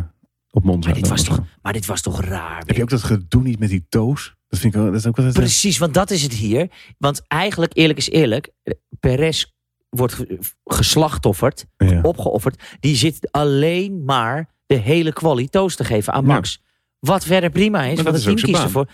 S1: op Monza.
S2: Maar dit
S1: dan
S2: was
S1: of zo.
S2: toch, maar dit was toch raar.
S1: Heb je ook dat gedoe niet met die toos? Dat vind ik wel, dat is ook wel eens.
S2: Precies, want dat is het hier. Want eigenlijk, eerlijk is eerlijk, eh, Perez wordt ge- geslachtofferd,
S1: Ja.
S2: opgeofferd. Die zit alleen maar de hele quali toast te geven aan
S1: Ja.
S2: Max. Wat verder prima is,
S1: dat
S2: want
S1: is
S2: het team
S1: ook zijn
S2: kiest ervoor.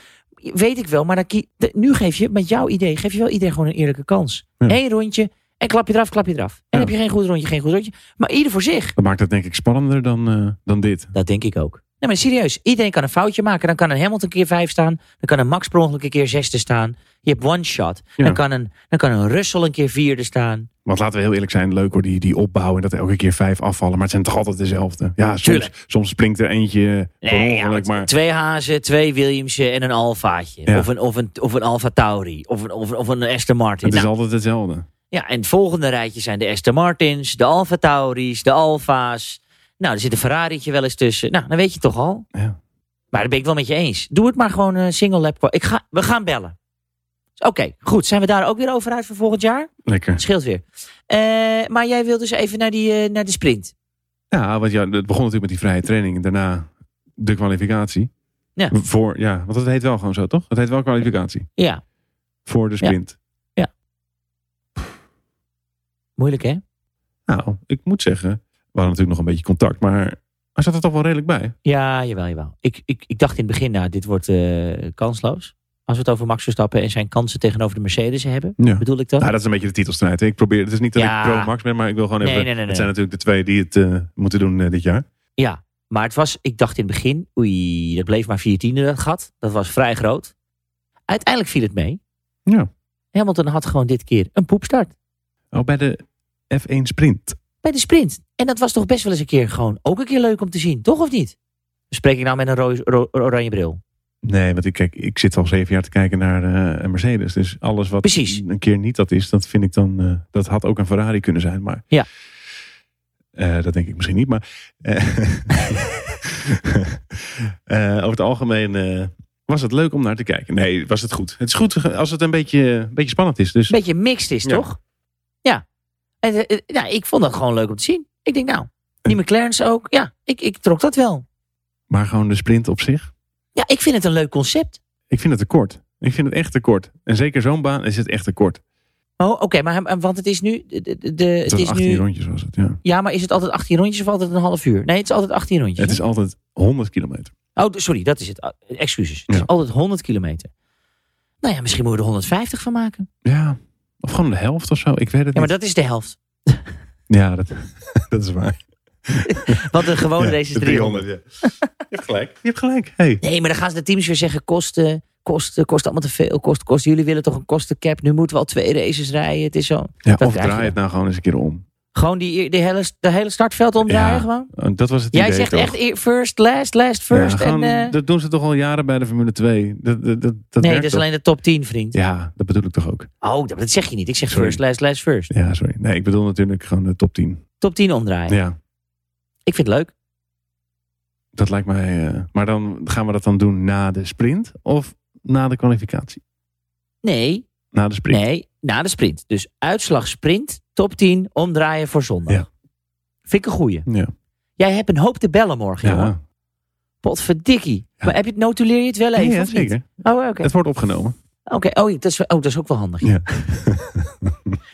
S2: Weet ik wel, maar dan kie- de- nu geef je, met jouw idee, geef je wel iedereen gewoon een eerlijke kans.
S1: Ja.
S2: Eén rondje en klap je eraf, klap je eraf.
S1: Ja.
S2: En heb je geen goed rondje, geen goed rondje. Maar ieder voor zich.
S1: Dat maakt het denk ik spannender dan, eh, dan dit.
S2: Dat denk ik ook. Nee, maar serieus. Iedereen kan een foutje maken. Dan kan een Hamilton een keer vijf staan. Dan kan een Max per ongeluk een keer zesde staan. Je hebt one shot.
S1: Ja.
S2: Dan, kan een, dan kan een Russell een keer vierde staan.
S1: Want laten we heel eerlijk zijn, leuk hoor, die, die opbouw en dat elke keer vijf afvallen. Maar het zijn toch altijd dezelfde. Ja, soms,
S2: Tuurlijk.
S1: soms springt er eentje per
S2: Nee, ja,
S1: ongeluk,
S2: want
S1: maar
S2: Twee hazen, twee Williamsen en een Alfaatje.
S1: Ja.
S2: Of, een, of, een, of een Alfa Tauri. Of een, of, een, of een Aston Martin.
S1: het is
S2: Nou,
S1: altijd hetzelfde.
S2: Ja, en het volgende rijtje zijn de Aston Martins, de Alfa Tauris, de Alfa's. Nou, er zit een Ferrari'tje wel eens tussen. Nou, dan weet je toch al.
S1: Ja.
S2: Maar daar ben ik wel met je eens. Doe het maar gewoon een single lap. qua- Ik ga, we gaan bellen. Oké, goed. Zijn we daar ook weer over uit voor volgend jaar?
S1: Lekker.
S2: Scheelt weer. Eh, maar jij wil dus even naar, die, eh, naar de sprint.
S1: Ja, want ja, het begon natuurlijk met die vrije training en daarna de kwalificatie.
S2: Ja.
S1: Voor, ja, want dat heet wel gewoon zo, toch? Het heet wel kwalificatie.
S2: Ja,
S1: Voor de
S2: Ja.
S1: sprint.
S2: moeilijk hè?
S1: Nou, ik moet zeggen, we hadden natuurlijk nog een beetje contact, maar hij zat er toch wel redelijk bij.
S2: Ja, jawel, jawel. Ik, ik, ik dacht in het begin, nou, dit wordt eh, kansloos. Als we het over Max Verstappen en zijn kansen tegenover de Mercedes hebben,
S1: Ja.
S2: bedoel ik dat?
S1: Nou, dat is een beetje de titelstrijd. hè. Ik probeer, het is niet dat
S2: Ja.
S1: ik pro-Max ben, maar ik wil gewoon
S2: Nee,
S1: even...
S2: nee, nee,
S1: Het
S2: nee.
S1: zijn natuurlijk de twee die het eh, moeten doen eh, dit jaar.
S2: Ja, maar het was, ik dacht in het begin, oei, dat bleef maar vier tiende dat gat. Dat was vrij groot. Uiteindelijk viel het mee.
S1: Ja.
S2: Hamilton had gewoon dit keer een poepstart
S1: Oh, bij de F1 sprint.
S2: bij de sprint. En dat was toch best wel eens een keer gewoon ook een keer leuk om te zien, toch of niet? Spreek ik nou met een rooi- ro- oranje bril?
S1: Nee, want ik, kijk, ik zit al zeven jaar te kijken naar eh, een Mercedes. Dus alles wat
S2: Precies.
S1: een keer niet dat is, dat vind ik dan... eh, dat had ook een Ferrari kunnen zijn, maar...
S2: Ja.
S1: Eh, dat denk ik misschien niet, maar... eh, eh, over het algemeen eh, was het leuk om naar te kijken. Nee, was het goed. Het is goed als het een beetje, een beetje spannend is. Dus
S2: Een beetje mixed is,
S1: Ja.
S2: toch? Ja. En, eh, eh, nou, ik vond dat gewoon leuk om te zien. Ik denk, nou, die McLaren's ook. Ja, ik, ik trok dat wel.
S1: Maar gewoon de sprint op zich.
S2: Ja, ik vind het een leuk concept.
S1: Ik vind het tekort. Ik vind het echt tekort. En zeker zo'n baan is het echt tekort.
S2: Oh, oké, maar hem- want het is nu... de- de- de-
S1: Het,
S2: het
S1: was
S2: is
S1: 18
S2: nu
S1: rondjes was het, ja.
S2: Ja, maar is het altijd 18 rondjes of altijd een half uur? Nee, het is altijd 18 rondjes.
S1: Het is altijd 100 kilometer.
S2: hè? Oh, d- sorry, dat is het. Ah, Excuses.
S1: Ja.
S2: Het is altijd 100 kilometer. Nou ja, misschien moeten we er 150 van maken.
S1: Ja. Of gewoon de helft of zo. Ik weet het
S2: Ja, maar
S1: niet.
S2: dat is de helft.
S1: Ja, dat, dat is waar.
S2: Want de gewone
S1: Ja,
S2: race is
S1: de
S2: 300.
S1: ja. Je hebt gelijk. Je hebt gelijk. Hey.
S2: Nee, maar dan gaan ze de teams weer zeggen, kosten, kosten, kost allemaal te veel, kost, kost. Jullie willen toch een kostencap? Nu moeten we al twee races rijden. Het is zo.
S1: Ja,
S2: Dat
S1: of
S2: krijg je
S1: draai het nou gewoon eens een keer om.
S2: Gewoon die, de hele, de hele startveld omdraaien
S1: Ja,
S2: gewoon.
S1: Uh, Dat was het
S2: Jij
S1: idee
S2: zegt
S1: toch?
S2: echt e- first, last, last,
S1: Ja,
S2: first.
S1: gewoon-
S2: en, eh,
S1: Dat doen ze toch al jaren bij de Formule 2. Dat, dat, dat, dat
S2: nee,
S1: werkt
S2: dat is
S1: toch?
S2: alleen de top 10, vriend.
S1: Ja, dat bedoel ik toch ook.
S2: Oh, dat, dat zeg je niet. Ik zeg
S1: Sorry.
S2: first, last, last, first.
S1: Ja, sorry. Nee, ik bedoel natuurlijk gewoon de top 10.
S2: Top 10 omdraaien.
S1: ja.
S2: Ik vind het leuk.
S1: Dat lijkt mij. eh, maar dan gaan we dat dan doen na de sprint of na de kwalificatie?
S2: Nee,
S1: Na de sprint.
S2: nee, na de sprint. Dus uitslag sprint, top 10, omdraaien voor zondag.
S1: Ja.
S2: Vind ik een goeie.
S1: Ja.
S2: Jij hebt een hoop te bellen morgen, jongen. Potverdikkie.
S1: Ja.
S2: Maar heb je, het- notuleer je het wel
S1: Ja,
S2: even,
S1: ja,
S2: of niet?
S1: zeker.
S2: Oh, oké.
S1: Het wordt opgenomen.
S2: Oké, oh, dat is, wel- oh, dat is ook wel handig.
S1: Ja.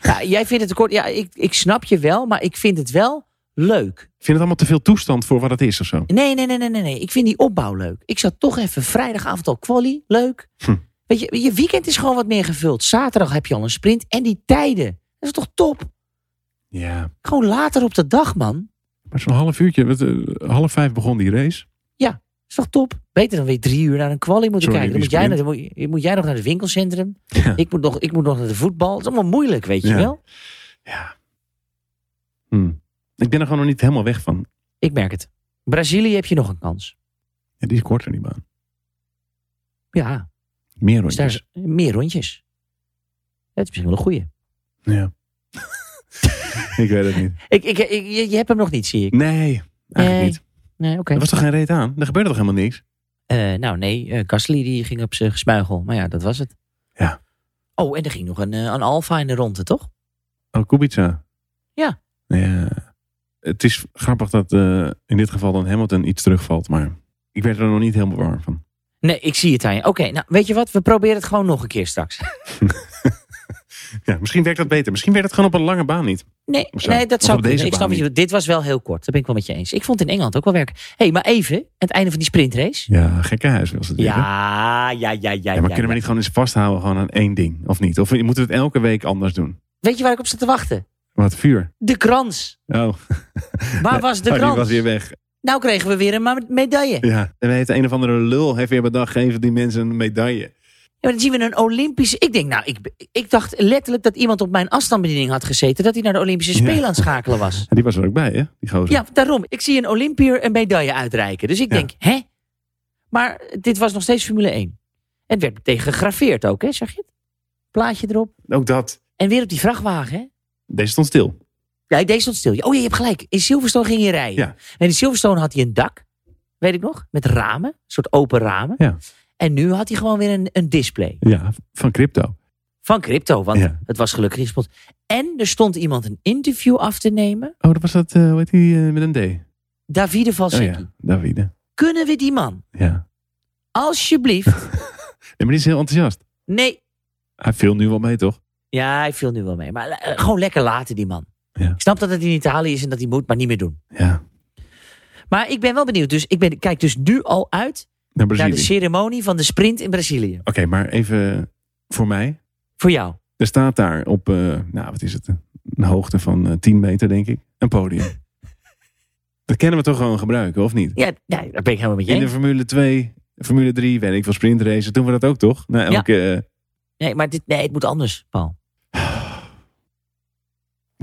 S2: Ja, jij vindt het tekort. Ja, ik, ik snap je wel, maar ik vind het wel leuk.
S1: Ik vind het allemaal te veel toestand voor wat het is of zo.
S2: Nee, nee, nee, nee, nee. nee. Ik vind die opbouw leuk. Ik zat toch even vrijdagavond al quali. Leuk.
S1: Hm.
S2: Weet je, je weekend is gewoon wat meer gevuld. Zaterdag heb je al een sprint. En die tijden. Dat is toch top?
S1: Ja.
S2: Gewoon later op de dag, man.
S1: Maar zo'n half uurtje, wat, eh, half vijf begon die race.
S2: is toch top? Beter dan weer drie uur naar een kwalie moeten
S1: Sorry,
S2: kijken. Dan moet,
S1: wie
S2: jij,
S1: sprint?
S2: naar- dan moet, moet jij nog naar het winkelcentrum.
S1: Ja.
S2: Ik, moet nog, ik moet nog naar de voetbal. Het is allemaal moeilijk, weet je
S1: Ja.
S2: wel?
S1: Ja. Hm. Ik ben er gewoon nog niet helemaal weg van.
S2: Ik merk het. Brazilië heb je nog een kans.
S1: Ja, die is korter, die baan.
S2: Ja,
S1: Meer
S2: dus daar
S1: rondjes.
S2: is meer rondjes. Dat is misschien wel een goeie.
S1: Ja. ik weet het niet.
S2: Ik, ik, ik- je, je hebt hem nog niet, zie ik.
S1: Nee, eigenlijk
S2: Nee.
S1: niet.
S2: Nee, oké.
S1: Er was toch geen reet aan? Er gebeurde toch helemaal niks?
S2: Eh, nou, nee. eh Gasly die ging op zijn gesmuigel. Maar ja, dat was het.
S1: Ja.
S2: Oh, en er ging nog een, eh, een Alfa in de ronde, toch?
S1: Oh, Kubica.
S2: Ja.
S1: ja. Het is grappig dat eh, in dit geval dan Hamilton iets terugvalt, maar ik werd er nog niet helemaal warm van.
S2: Nee, ik zie het aan je. Oké, nou, weet je wat? We proberen het gewoon nog een keer straks.
S1: Ja, misschien werkt dat beter. Misschien werkt het gewoon op een lange baan niet.
S2: Nee,
S1: Of zo.
S2: nee dat
S1: Of
S2: zou
S1: op
S2: kunnen.
S1: deze
S2: Ik snap
S1: baan
S2: wat je. Dit was wel heel kort. Dat ben ik wel met je eens. Ik vond het in Engeland ook wel werken. Hé, hey, maar even. Aan het einde van die sprintrace.
S1: Ja, gekkenhuis was het. weer, hè?
S2: Ja, ja, ja, ja.
S1: Ja, maar kunnen we niet gewoon eens vasthouden gewoon aan één ding, of niet? Of moeten we het elke week anders doen?
S2: Weet je waar ik op zat te wachten?
S1: Wat vuur.
S2: De krans.
S1: Oh,
S2: Waar was de
S1: oh, die
S2: krans?
S1: was weer weg.
S2: Nou kregen we weer een ma- medaille.
S1: Ja. En heeft een of andere lul heeft weer bedacht, geven die mensen een medaille.
S2: Ja, maar dan zien we een Olympische. Ik denk, nou, ik, ik dacht letterlijk dat iemand op mijn afstandsbediening had gezeten. dat hij naar de Olympische Spelen aan het schakelen was.
S1: En die was er ook bij, hè? Die gozer.
S2: Ja, daarom. Ik zie een Olympier een medaille uitreiken. Dus ik
S1: Ja.
S2: denk, hè? Maar dit was nog steeds Formule 1. Het werd meteen gegraveerd ook, hè? Zag je het? Plaatje erop.
S1: Ook dat.
S2: En weer op die vrachtwagen, hè?
S1: Deze stond stil.
S2: Ja, deze stond stil. Oh ja, je hebt gelijk. In Silverstone ging je rijden.
S1: Ja.
S2: En in Silverstone had hij een dak, weet ik nog, met ramen. Een soort open ramen.
S1: Ja.
S2: En nu had hij gewoon weer een, een display.
S1: Ja, van crypto.
S2: Van crypto, want
S1: Ja.
S2: het was gelukkig in spot. En er stond iemand een interview af te nemen.
S1: Oh, dat was dat, eh hoe heet die, eh, met een D?
S2: Davide
S1: Oh
S2: Valsecchi.
S1: ja, Davide.
S2: Kunnen we die man?
S1: Ja.
S2: Alsjeblieft.
S1: Nee, maar die is heel enthousiast.
S2: nee.
S1: Hij viel nu wel mee, toch?
S2: Ja, hij viel nu wel mee. Maar eh, gewoon lekker laten, die man.
S1: Ja.
S2: Ik snap dat het in Italië is en dat hij moet, maar niet meer doen.
S1: Ja.
S2: Maar ik ben wel benieuwd. Dus ik ben, kijk dus nu al uit
S1: Naar
S2: naar
S1: Brazilië.
S2: de ceremonie van de sprint in Brazilië.
S1: Oké, maar even voor mij.
S2: Voor jou.
S1: Er staat daar op, eh, nou wat is het, een hoogte van eh, 10 meter denk ik, een podium. dat kennen we toch gewoon gebruiken, of niet?
S2: Ja, nee, daar ben ik helemaal met je
S1: In de
S2: eens.
S1: Formule 2, Formule 3, weet ik veel, sprintracen, doen we dat ook toch? Nou,
S2: Ja.
S1: elke, eh,
S2: Nee, maar dit, nee, het moet anders, Paul.
S1: nee,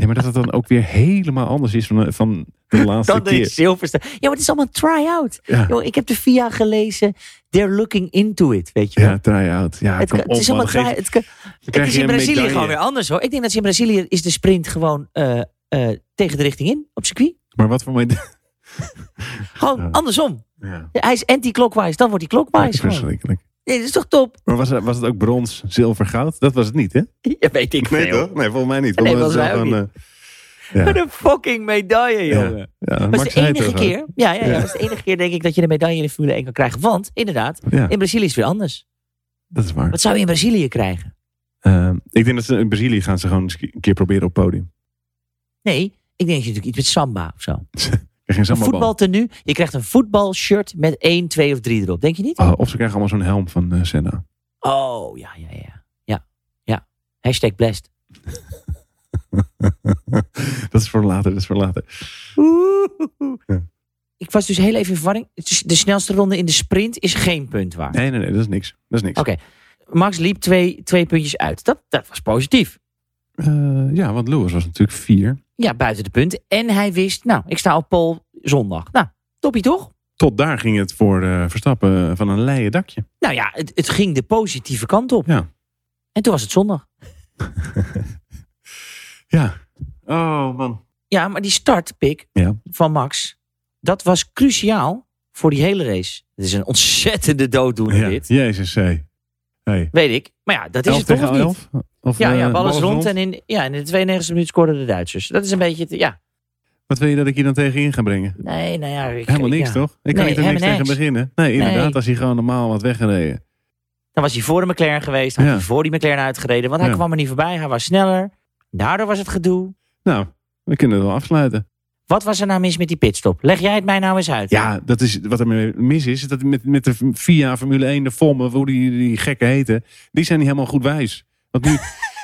S1: maar dat het dan ook weer helemaal anders is van, van de laatste
S2: Dan
S1: keer.
S2: is Silverstone. Ja, maar het is allemaal een try-out.
S1: Ja.
S2: Yo, ik heb de VIA gelezen. They're looking into it, weet je wel.
S1: Ja, try-out. Ja,
S2: het,
S1: kom
S2: kan-
S1: op,
S2: het is allemaal
S1: man. Geef-
S2: try Het, kan-
S1: dan
S2: het
S1: krijg
S2: is
S1: je
S2: in
S1: een
S2: Brazilië
S1: medaille.
S2: gewoon weer anders, hoor. Ik denk dat ze in Brazilië is de sprint gewoon eh, eh, tegen de richting in, op circuit.
S1: Maar wat voor medaille?
S2: Gewoon
S1: Ja.
S2: andersom.
S1: Ja,
S2: Hij is anti-clockwise, dan wordt hij clockwise. gewoon.
S1: verschrikkelijk.
S2: Nee, dat is toch top?
S1: Maar was, het- was het ook brons, zilver, goud? Dat was het niet, hè?
S2: Ja, weet ik
S1: Nee,
S2: veel.
S1: toch? Nee, volgens mij niet.
S2: Nee,
S1: Volgens mij
S2: volgens
S1: was
S2: mij
S1: het gewoon, eh,
S2: Wat een fucking medaille,
S1: Ja.
S2: jongen.
S1: ja. Ja, Mark
S2: Dat is de
S1: zei het
S2: enige
S1: toch ook.
S2: keer. Ja, ja, ja.
S1: Ja.
S2: Dat is de enige keer, denk ik, dat je een medaille in de Formule 1 kan krijgen. Want, inderdaad,
S1: Ja,
S2: in Brazilië is het weer anders.
S1: dat is waar.
S2: Wat zou je in Brazilië krijgen?
S1: Ehm, ik denk dat ze in Brazilië gaan ze gewoon eens een keer proberen op het podium.
S2: Nee, ik denk dat je natuurlijk iets met samba of zo.
S1: Er geen
S2: Een
S1: sambabal.
S2: voetbaltenue. Je krijgt een voetbalshirt met 1, 2 of 3 erop. Denk je niet?
S1: Ah, of ze krijgen allemaal zo'n helm van eh, Senna.
S2: Oh, ja, ja, ja. Ja, ja. Hashtag blessed.
S1: dat is voor later, dat is voor later. Ja.
S2: Ik was dus heel even in verwarring. Het is- De snelste ronde in de sprint is geen punt waard.
S1: Nee, nee, nee, dat is niks. Dat is niks.
S2: Oké. Max liep twee, twee puntjes uit. Dat, dat was positief.
S1: Eh, ja, want Lewis was natuurlijk vier.
S2: Ja, buiten de punten. En hij wist, nou, ik sta op pol zondag. Nou, toppie toch?
S1: Tot daar ging het voor eh, Verstappen van een leien dakje.
S2: Nou ja, het, het ging de positieve kant op.
S1: Ja.
S2: En toen was het zondag.
S1: Ja. Oh, man.
S2: Ja, maar die startpick
S1: Ja.
S2: van Max, dat was cruciaal voor die hele race. Het is een ontzettende dooddoener
S1: Ja.
S2: dit.
S1: Jezus, hé. Hey.
S2: Weet ik. Maar ja, dat is
S1: 11
S2: het toch
S1: tegen
S2: of niet?
S1: 11? Of,
S2: Ja, ja,
S1: eh,
S2: bal is
S1: ballen
S2: rond en in, ja, in de 92e minuut scoorden de Duitsers. Dat is een beetje, het- ja.
S1: Wat wil je dat ik hier dan tegen in ga brengen?
S2: Nee, nou ja. ik-
S1: Helemaal niks,
S2: ja.
S1: toch? Ik kan
S2: Nee,
S1: niet er niks
S2: helemaal
S1: tegen
S2: niks.
S1: beginnen. Nee, inderdaad,
S2: Nee.
S1: als hij gewoon normaal wat weggereden.
S2: Dan was hij voor de McLaren geweest. Had
S1: Ja.
S2: hij voor die McLaren uitgereden. Want hij
S1: Ja.
S2: kwam er niet voorbij. Hij was sneller. Daardoor was het gedoe.
S1: Nou, we kunnen het wel afsluiten.
S2: Wat was er nou mis met die pitstop? Leg jij het mij nou eens uit.
S1: Ja, dat is, wat er mee mis is, is dat met, met de FIA, Formule 1, de FOM, of hoe die, die gekken heten, die zijn niet helemaal goed wijs. Want nu,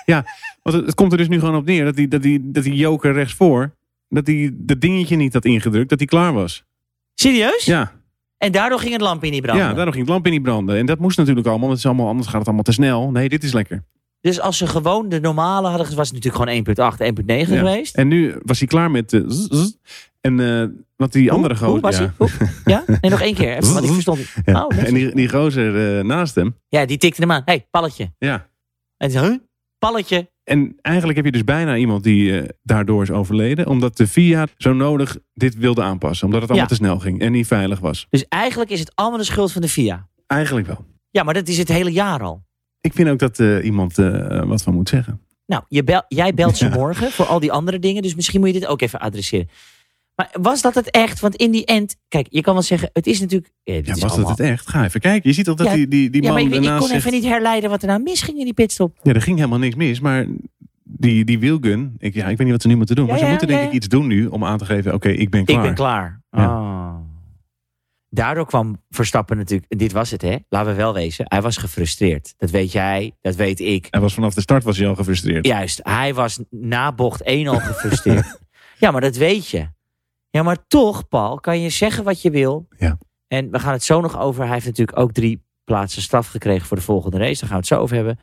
S1: ja, want het, het komt er dus nu gewoon op neer dat die, dat die, dat die joker rechtsvoor, dat die dat dingetje niet had ingedrukt, dat die klaar was.
S2: Serieus?
S1: Ja,
S2: En daardoor ging het lampje niet branden.
S1: ja daardoor ging het lampje niet branden. En dat moest natuurlijk allemaal, want het is allemaal, anders gaat het allemaal te snel. Nee, dit is lekker.
S2: Dus als ze gewoon de normale hadden, ge- was het natuurlijk gewoon 1.8, 1.9
S1: Ja.
S2: geweest.
S1: En nu was hij klaar met. eh, zzz, zzz. en eh, wat die andere
S2: Hoe? Hoe
S1: gozer.
S2: was
S1: ja.
S2: hij? Hoe? ja? Nee, nog één keer. Even, want ik verstond het.
S1: Ja.
S2: Oh, netjes.
S1: en die, die gozer eh, naast hem.
S2: Ja, die tikte hem aan. Hé, hey, palletje.
S1: Ja.
S2: En ze, huh? Palletje.
S1: En eigenlijk heb je dus bijna iemand die eh, daardoor is overleden. Omdat de VIA zo nodig dit wilde aanpassen. Omdat het allemaal
S2: Ja.
S1: te snel ging en niet veilig was.
S2: Dus eigenlijk is het allemaal de schuld van de FIA.
S1: Eigenlijk wel.
S2: Ja, maar dat is het hele jaar al.
S1: Ik vind ook dat eh, iemand eh, wat van moet zeggen.
S2: Nou, je bel- jij belt ze
S1: Ja.
S2: morgen voor al die andere dingen. Dus misschien moet je dit ook even adresseren. Maar was dat het echt? Want in die end... Kijk, je kan wel zeggen, het is natuurlijk... eh, dit
S1: Ja, was
S2: is
S1: dat
S2: allemaal-
S1: het echt? Ga even kijken. Je ziet toch dat
S2: Ja,
S1: die, die, die
S2: Ja,
S1: man
S2: maar ik, ik
S1: daarnaast
S2: kon
S1: zegt...
S2: even niet herleiden wat er nou misging in die pitstop.
S1: Ja, er ging helemaal niks mis, maar die, die wheelgun... Ik, ja, ik weet niet wat ze nu moeten doen.
S2: Ja,
S1: maar ze
S2: ja,
S1: moeten denk
S2: ja,
S1: ik
S2: ja.
S1: iets doen nu om aan te geven... Oké, ik ben klaar.
S2: Ik ben klaar. Oh. Daardoor kwam Verstappen natuurlijk. en Dit was het, hè? Laten we wel wezen. Hij was gefrustreerd. Dat weet jij, dat weet ik.
S1: Hij was vanaf de start was hij al gefrustreerd.
S2: Juist, hij was na bocht 1 al gefrustreerd. ja, maar dat weet je. Ja, maar toch, Paul, kan je zeggen wat je wil.
S1: Ja.
S2: En we gaan het zo nog over. Hij heeft natuurlijk ook drie plaatsen straf gekregen voor de volgende race. Daar gaan we het zo over hebben.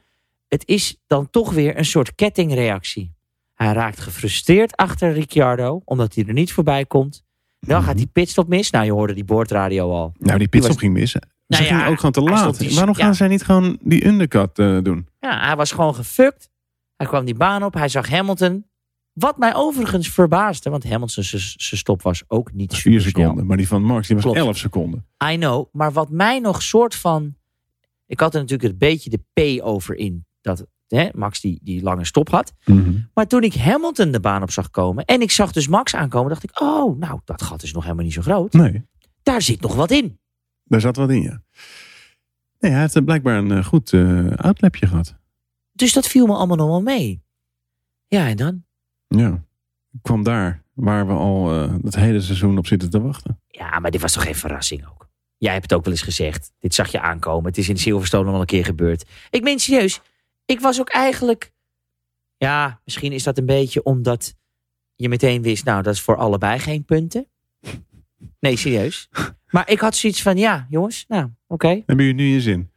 S2: Het is dan toch weer een soort kettingreactie. Hij raakt gefrustreerd achter Ricciardo, omdat hij er niet voorbij komt. Dan
S1: Mhm.
S2: gaat die pitstop mis. Nou, je hoorde die boordradio al.
S1: Nou, die
S2: Die
S1: pitstop
S2: was-
S1: ging mis. Ze
S2: Nou ja,
S1: gingen ook gewoon te
S2: hij
S1: laat.
S2: stond die-
S1: Waarom
S2: ja.
S1: gaan zij niet gewoon die undercut eh, doen?
S2: Ja, hij was gewoon gefukt. Hij kwam die baan op. Hij zag Hamilton. Wat mij overigens verbaasde, want Hamilton's zijn stop was ook niet
S1: Vier
S2: supersnel.
S1: seconden. Maar die van Max die was
S2: Klopt.
S1: 11 seconden.
S2: I know, maar wat mij nog soort van. Ik had er natuurlijk een beetje de P over in. Dat hè, Max die, die lange stop had. Maar toen ik Hamilton de baan op zag komen. en ik zag dus Max aankomen. dacht ik: oh, nou, dat gat is nog helemaal niet zo groot.
S1: Nee,
S2: Daar zit nog wat in.
S1: daar zat wat in, ja. Nee, hij heeft eh, blijkbaar een eh, goed eh uitlepje gehad.
S2: Dus dat viel me allemaal nog wel mee. Ja, en dan?
S1: Ja. Ik kwam daar waar we al eh, het hele seizoen op zitten te wachten.
S2: Ja, maar dit was toch geen verrassing ook? Jij hebt het ook wel eens gezegd. Dit zag je aankomen. Het is in Silverstone al een keer gebeurd. Ik meen serieus. Ik was ook eigenlijk... Ja, misschien is dat een beetje omdat je meteen wist... Nou, dat is voor allebei geen punten. Nee, serieus. Maar ik had zoiets van, ja, jongens, nou, oké.
S1: Hebben jullie nu je zin?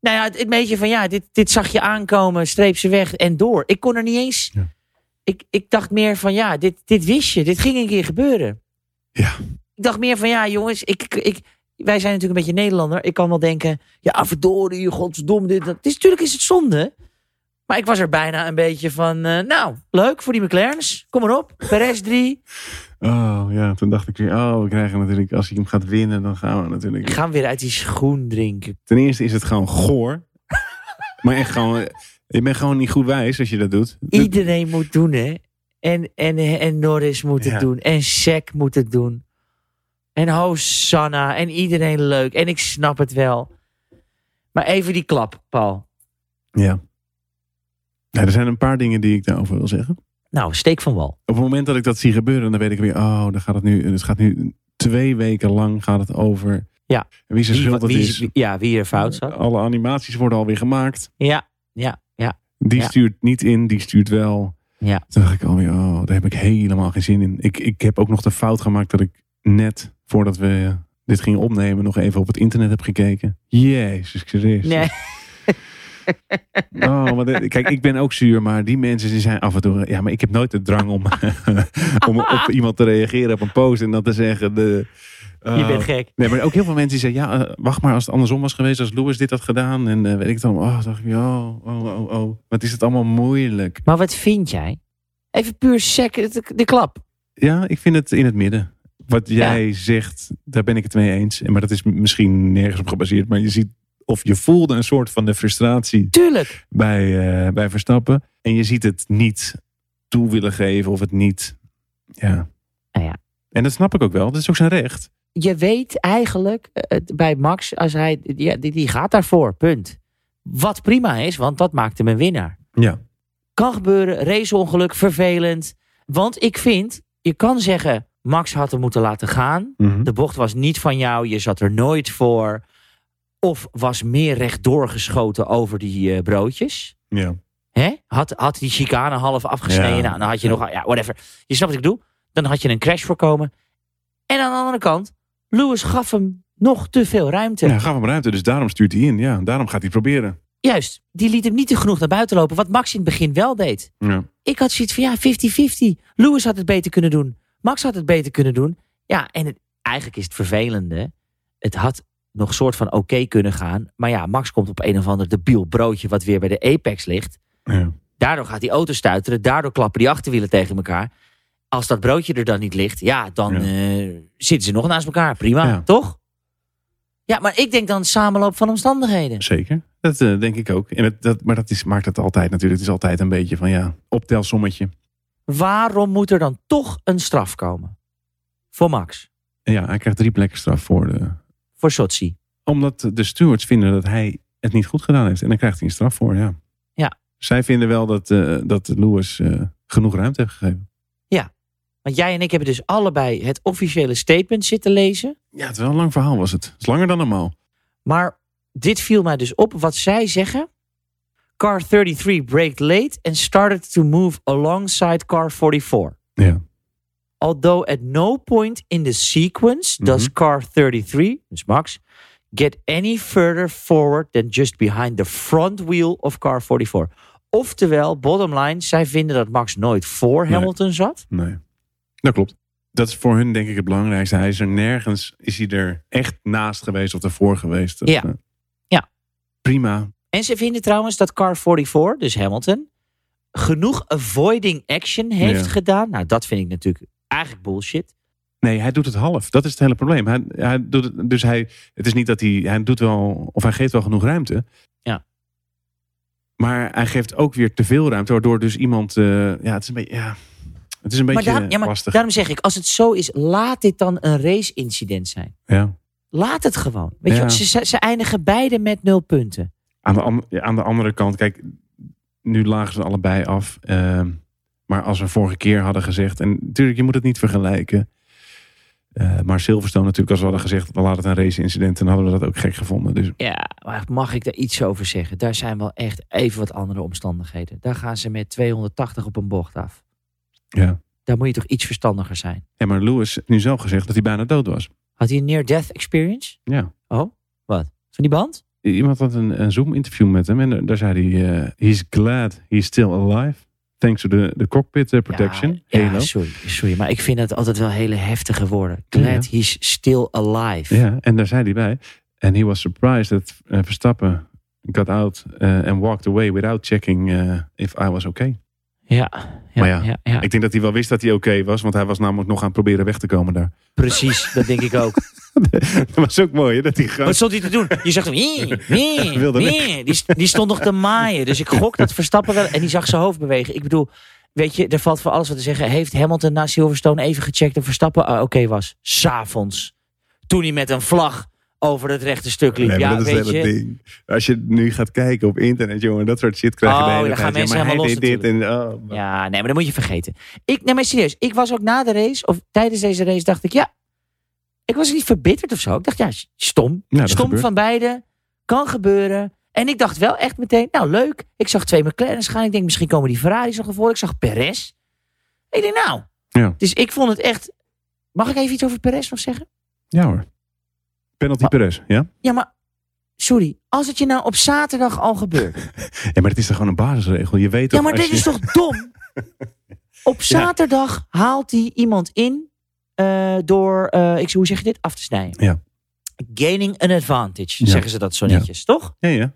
S2: Nou ja, het, het beetje van, ja, dit, dit zag je aankomen, streep ze weg en door. Ik kon er niet eens...
S1: Ja.
S2: Ik, ik dacht meer van, ja, dit, dit wist je. Dit ging een keer gebeuren.
S1: Ja.
S2: Ik dacht meer van, ja jongens, ik, ik, ik- wij zijn natuurlijk een beetje Nederlander. Ik kan wel denken, ja verdorie, godsdom, dit, dat. Het is, natuurlijk is het zonde. Maar ik was er bijna een beetje van, eh, nou, leuk voor die McLaren's. Kom maar op, Perez 3.
S1: Oh ja, toen dacht ik weer, oh, we krijgen natuurlijk, als hij hem gaat winnen, dan gaan we natuurlijk.
S2: Gaan we weer uit die schoen drinken.
S1: Ten eerste is het gewoon goor. maar echt gewoon, eh, je bent gewoon niet goed wijs als je dat doet. Dat-
S2: Iedereen moet doen, hè. En, en, en Norris moet het
S1: Ja.
S2: doen. En Sek moet het doen. En Hosanna. En iedereen leuk. En ik snap het wel. Maar even die klap, Paul.
S1: Ja. ja. Er zijn een paar dingen die ik daarover wil zeggen.
S2: Nou, steek van wal.
S1: Op het moment dat ik dat zie gebeuren, dan weet ik weer, oh, dan gaat het nu, het gaat nu twee weken lang gaat het over
S2: Ja.
S1: wie zijn schuld dat
S2: wie,
S1: is.
S2: wie- ja, wie er fout zat.
S1: Alle animaties worden alweer gemaakt.
S2: Ja, ja, ja.
S1: Die
S2: Ja.
S1: stuurt niet in, die stuurt wel.
S2: Ja.
S1: Toen dacht ik alweer, oh, daar heb ik helemaal geen zin in. Ik, ik heb ook nog de fout gemaakt dat ik net voordat we dit gingen opnemen, nog even op het internet heb gekeken. Jezus Christus.
S2: Nee.
S1: Oh, want, eh, kijk, ik ben ook zuur, maar die mensen die zijn af en toe. Ja, maar ik heb nooit de drang om, om op iemand te reageren op een post en dan te zeggen. De,
S2: Je
S1: oh.
S2: bent gek.
S1: Nee, maar ook heel veel mensen die zeggen: ja, eh, wacht maar, als het andersom was geweest, als Louis dit had gedaan en eh, weet ik dan. Oh, dacht ik, oh, oh, oh, oh. Wat is het allemaal moeilijk?
S2: Maar wat vind jij? Even puur sec, de, de klap.
S1: Ja, ik vind het in het midden. Wat jij zegt, daar ben ik het mee eens. En Maar dat is m- misschien nergens op gebaseerd. Maar je ziet of je voelde een soort van de frustratie
S2: Tuurlijk.
S1: bij, eh, bij Verstappen. En je ziet het niet toe willen geven of het niet. Ja.
S2: Nou ja.
S1: En dat snap ik ook wel. Dat is ook zijn recht.
S2: Je weet eigenlijk eh, het- bij Max, als hij, ja, die, die gaat daarvoor, punt. Wat prima is, want dat maakt hem een winnaar.
S1: Ja.
S2: Kan gebeuren, raceongeluk, vervelend. Want ik vind, je kan zeggen, Max had hem moeten laten gaan. De bocht was niet van jou, je zat er nooit voor. Of was meer rechtdoor geschoten over die eh, broodjes.
S1: ja.
S2: Hè? Had, had die chicane half afgesneden.
S1: Ja.
S2: Nou, dan had je nog. Ja, whatever. Je snapt wat ik bedoel? Dan had je een crash voorkomen. En aan de andere kant, Lewis gaf hem nog te veel ruimte.
S1: ja. Gaf hem ruimte, dus daarom stuurt hij in. Ja, daarom gaat hij proberen.
S2: Juist, die liet hem niet te genoeg naar buiten lopen. Wat Max in het begin wel deed.
S1: Ja.
S2: Ik had zoiets van ja, 50-50. Lewis had het beter kunnen doen. Max had het beter kunnen doen. Ja, en het, eigenlijk is het vervelende. Het had nog soort van oké kunnen gaan. Maar ja, Max komt op een of ander debiel broodje wat weer bij de apex ligt.
S1: ja.
S2: Daardoor gaat die auto stuiteren. Daardoor klappen die achterwielen tegen elkaar. Als dat broodje er dan niet ligt, ja, dan
S1: Ja.
S2: eh, zitten ze nog naast elkaar. Prima,
S1: Ja.
S2: toch? Ja, maar ik denk dan samenloop van omstandigheden.
S1: Zeker. Dat eh, denk ik ook. En het, dat, maar dat is, maakt het altijd natuurlijk. Het is altijd een beetje van ja, optelsommetje.
S2: Waarom moet er dan toch een straf komen? Voor Max,
S1: En ja, hij krijgt drie plekken straf voor de,
S2: voor Sochi.
S1: Omdat de stewards vinden dat hij het niet goed gedaan heeft. En dan krijgt hij een straf voor, ja.
S2: Ja.
S1: Zij vinden wel dat, eh, dat Lewis eh, genoeg ruimte heeft gegeven.
S2: Want jij en ik hebben dus allebei het officiële statement zitten lezen.
S1: Ja, het is wel een lang verhaal was het. Het is langer dan normaal.
S2: Maar dit viel mij dus op wat zij zeggen. Car 33 braked late and started to move alongside car 44.
S1: Ja.
S2: Although at no point in the sequence
S1: Mhm.
S2: does car 33, dus Max, get any further forward than just behind the front wheel of car 44. Oftewel, bottom line, zij vinden dat Max nooit voor
S1: Nee.
S2: Hamilton zat.
S1: Nee. Dat klopt. Dat is voor hun denk ik het belangrijkste. Hij is er nergens, is hij er echt naast geweest of ervoor geweest. Dat,
S2: Ja.
S1: eh,
S2: Ja.
S1: Prima.
S2: En ze vinden trouwens dat car 44, dus Hamilton, genoeg avoiding action heeft
S1: Ja.
S2: gedaan. Nou, dat vind ik natuurlijk eigenlijk bullshit.
S1: Nee, hij doet het half. Dat is het hele probleem. Hij, hij doet het, dus hij, het is niet dat hij, hij doet wel, of hij geeft wel genoeg ruimte.
S2: Ja.
S1: Maar hij geeft ook weer te veel ruimte, waardoor dus iemand, eh, ja, het is een beetje, ja, het is een beetje
S2: maar daarom, ja, maar
S1: lastig.
S2: daarom zeg ik, als het zo is, laat dit dan een race-incident zijn.
S1: Ja.
S2: Laat het gewoon. Weet je,
S1: Ja.
S2: wel, ze- ze, ze eindigen beide met nul punten.
S1: Aan, de, an- ja, aan de andere kant, kijk, nu lagen ze allebei af. ehm, maar als we vorige keer hadden gezegd, en natuurlijk, je moet het niet vergelijken. eh, maar Silverstone natuurlijk, als we hadden gezegd, we laten het een race-incident, dan hadden we dat ook gek gevonden. Dus
S2: Ja, maar mag ik daar iets over zeggen? Daar zijn wel echt even wat andere omstandigheden. Daar gaan ze met 280 op een bocht af.
S1: ja.
S2: Daar moet je toch iets verstandiger zijn.
S1: Ja, maar Lewis heeft nu zelf gezegd dat hij bijna dood was.
S2: Had hij een near-death experience?
S1: Ja.
S2: Oh, wat? Van die band?
S1: Iemand had een, een Zoom-interview met hem en daar- daar zei hij: eh, He's glad he's still alive. Thanks to the, the cockpit eh, protection.
S2: Ja, ja,
S1: Halo.
S2: sorry, sorry. Maar ik vind dat altijd wel hele heftige woorden. Glad he's still alive.
S1: Ja, en daar zei hij bij. And he was surprised that eh, Verstappen got out eh, and walked away without checking eh, if I was okay.
S2: Ja, ja,
S1: Maar ja,
S2: ja, ja.
S1: Ik denk dat hij wel wist dat hij oké was, want hij was namelijk nog aan het proberen weg te komen daar.
S2: precies. Dat denk ik ook.
S1: dat was ook mooi, hè, dat hij gewoon.
S2: Wat stond hij te doen? Je zag hem. "Hie, hie,
S1: Wilde
S2: hie." Die, die stond nog te maaien. Dus ik gok dat Verstappen wel. En die zag zijn hoofd bewegen. Ik bedoel, weet je, er valt voor alles wat te zeggen. Heeft Hamilton na Silverstone even gecheckt of Verstappen ah, oké was? S'avonds. Toen hij met een vlag over het rechte stuk liep.
S1: Nee, maar
S2: ja,
S1: dat is
S2: weet
S1: het hele
S2: je.
S1: ding. Als je nu gaat kijken op internet, jongen, dat soort shit krijg je
S2: Oh,
S1: de hele
S2: dan gaan
S1: tijd.
S2: mensen
S1: ja, maar hij
S2: helemaal
S1: deed
S2: los
S1: dit en oh, maar-
S2: Ja, nee, maar dat moet je vergeten. Ik, nee, maar serieus. Ik was ook na de race, of tijdens deze race, dacht ik, ja. Ik was niet verbitterd of zo. Ik dacht, ja, stom.
S1: Ja, dat
S2: stom
S1: gebeurt.
S2: van beide. Kan gebeuren. En ik dacht wel echt meteen, nou leuk. Ik zag twee McLaren's gaan. Ik denk, misschien komen die Ferraris nog ervoor. Ik zag Perez. Ik denk, nou.
S1: Ja.
S2: Dus ik vond het echt... Mag ik even iets over Perez nog zeggen?
S1: Ja hoor. Penalty
S2: Maar-
S1: Perez, ja?
S2: Ja, maar... Sorry, als het je nou op zaterdag al gebeurt.
S1: Ja, maar het is toch gewoon een basisregel? Je weet toch
S2: Ja, maar
S1: als
S2: dit is
S1: je-
S2: toch dom? Op zaterdag haalt hij iemand in eh, door, eh, ik, hoe zeg je dit, af te snijden.
S1: Ja.
S2: Gaining an advantage,
S1: Ja.
S2: zeggen ze dat zo
S1: Ja.
S2: netjes, toch?
S1: Ja, ja.
S2: En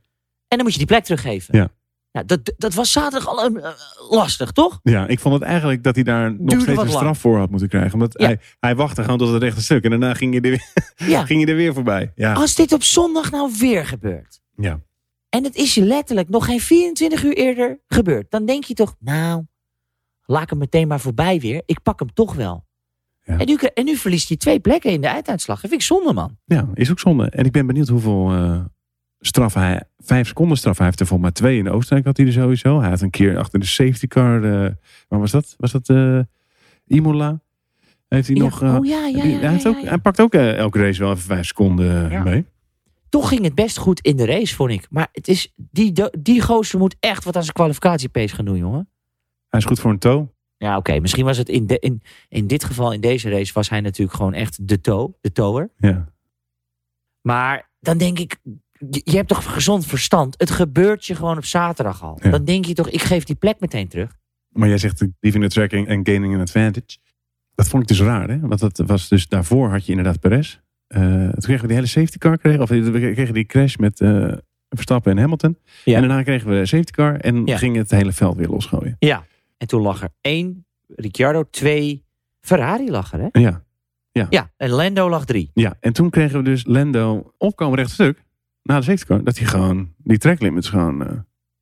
S2: dan moet je die plek teruggeven.
S1: Ja.
S2: Nou, dat, dat was zaterdag al eh, lastig, toch?
S1: ja, ik vond het eigenlijk dat hij daar nog
S2: Duurde
S1: steeds
S2: wat
S1: een
S2: lang.
S1: straf voor had moeten krijgen. Omdat
S2: Ja.
S1: hij, hij wachtte gewoon tot het rechte stuk. En daarna ging je er weer,
S2: Ja. Ah.
S1: ging je er weer voorbij. Ja.
S2: Als dit op zondag nou weer gebeurt.
S1: ja.
S2: En het is je letterlijk nog geen 24 uur eerder gebeurd. Dan denk je toch, nou, laat ik hem meteen maar voorbij weer. Ik pak hem toch wel.
S1: Ja.
S2: En, nu, en nu verliest hij twee plekken in de einduitslag. Dat vind ik zonde, man.
S1: ja, is ook zonde. En ik ben benieuwd hoeveel eh straf hij... Vijf seconden straf. Hij heeft er volgens mij twee in Oostenrijk had hij er sowieso. Hij had een keer achter de safety car... eh waar was dat? Was dat eh, Imola? Heeft hij
S2: Ja,
S1: nog... eh,
S2: oh ja, ja,
S1: die-
S2: ja,
S1: hij, heeft
S2: ja,
S1: ook,
S2: ja.
S1: hij pakt ook eh, elke race wel even vijf seconden eh,
S2: Ja.
S1: mee.
S2: Toch ging het best goed in de race, vond ik. Maar het is, die, do- die gozer moet echt wat aan zijn kwalificatiepace gaan doen, jongen.
S1: Hij is goed voor een toe.
S2: Ja, oké. Misschien was het in, de, in, in dit geval, in deze race, was hij natuurlijk gewoon echt de toe, de tower.
S1: Ja.
S2: Maar dan denk ik, je, je hebt toch gezond verstand? Het gebeurt je gewoon op zaterdag al.
S1: Ja.
S2: Dan denk je toch, ik geef die plek meteen terug.
S1: Maar jij zegt leaving the tracking en gaining an advantage. Dat vond ik dus raar, hè? Want dat was dus daarvoor had je inderdaad Perez. Eh, toen kregen we die hele safety car, kregen, of eh, we kregen die crash met eh, Verstappen en Hamilton.
S2: Ja.
S1: En daarna kregen we de safety car en
S2: Ja.
S1: ging het hele veld weer losgooien.
S2: Ja. En toen lag er één Ricciardo, twee Ferrari lag er, hè?
S1: Ja.
S2: Ja, en Lando lag drie.
S1: ja, en toen kregen we dus Lando opkomen rechtstuk na de safety car. Dat hij gewoon die track limits gewoon...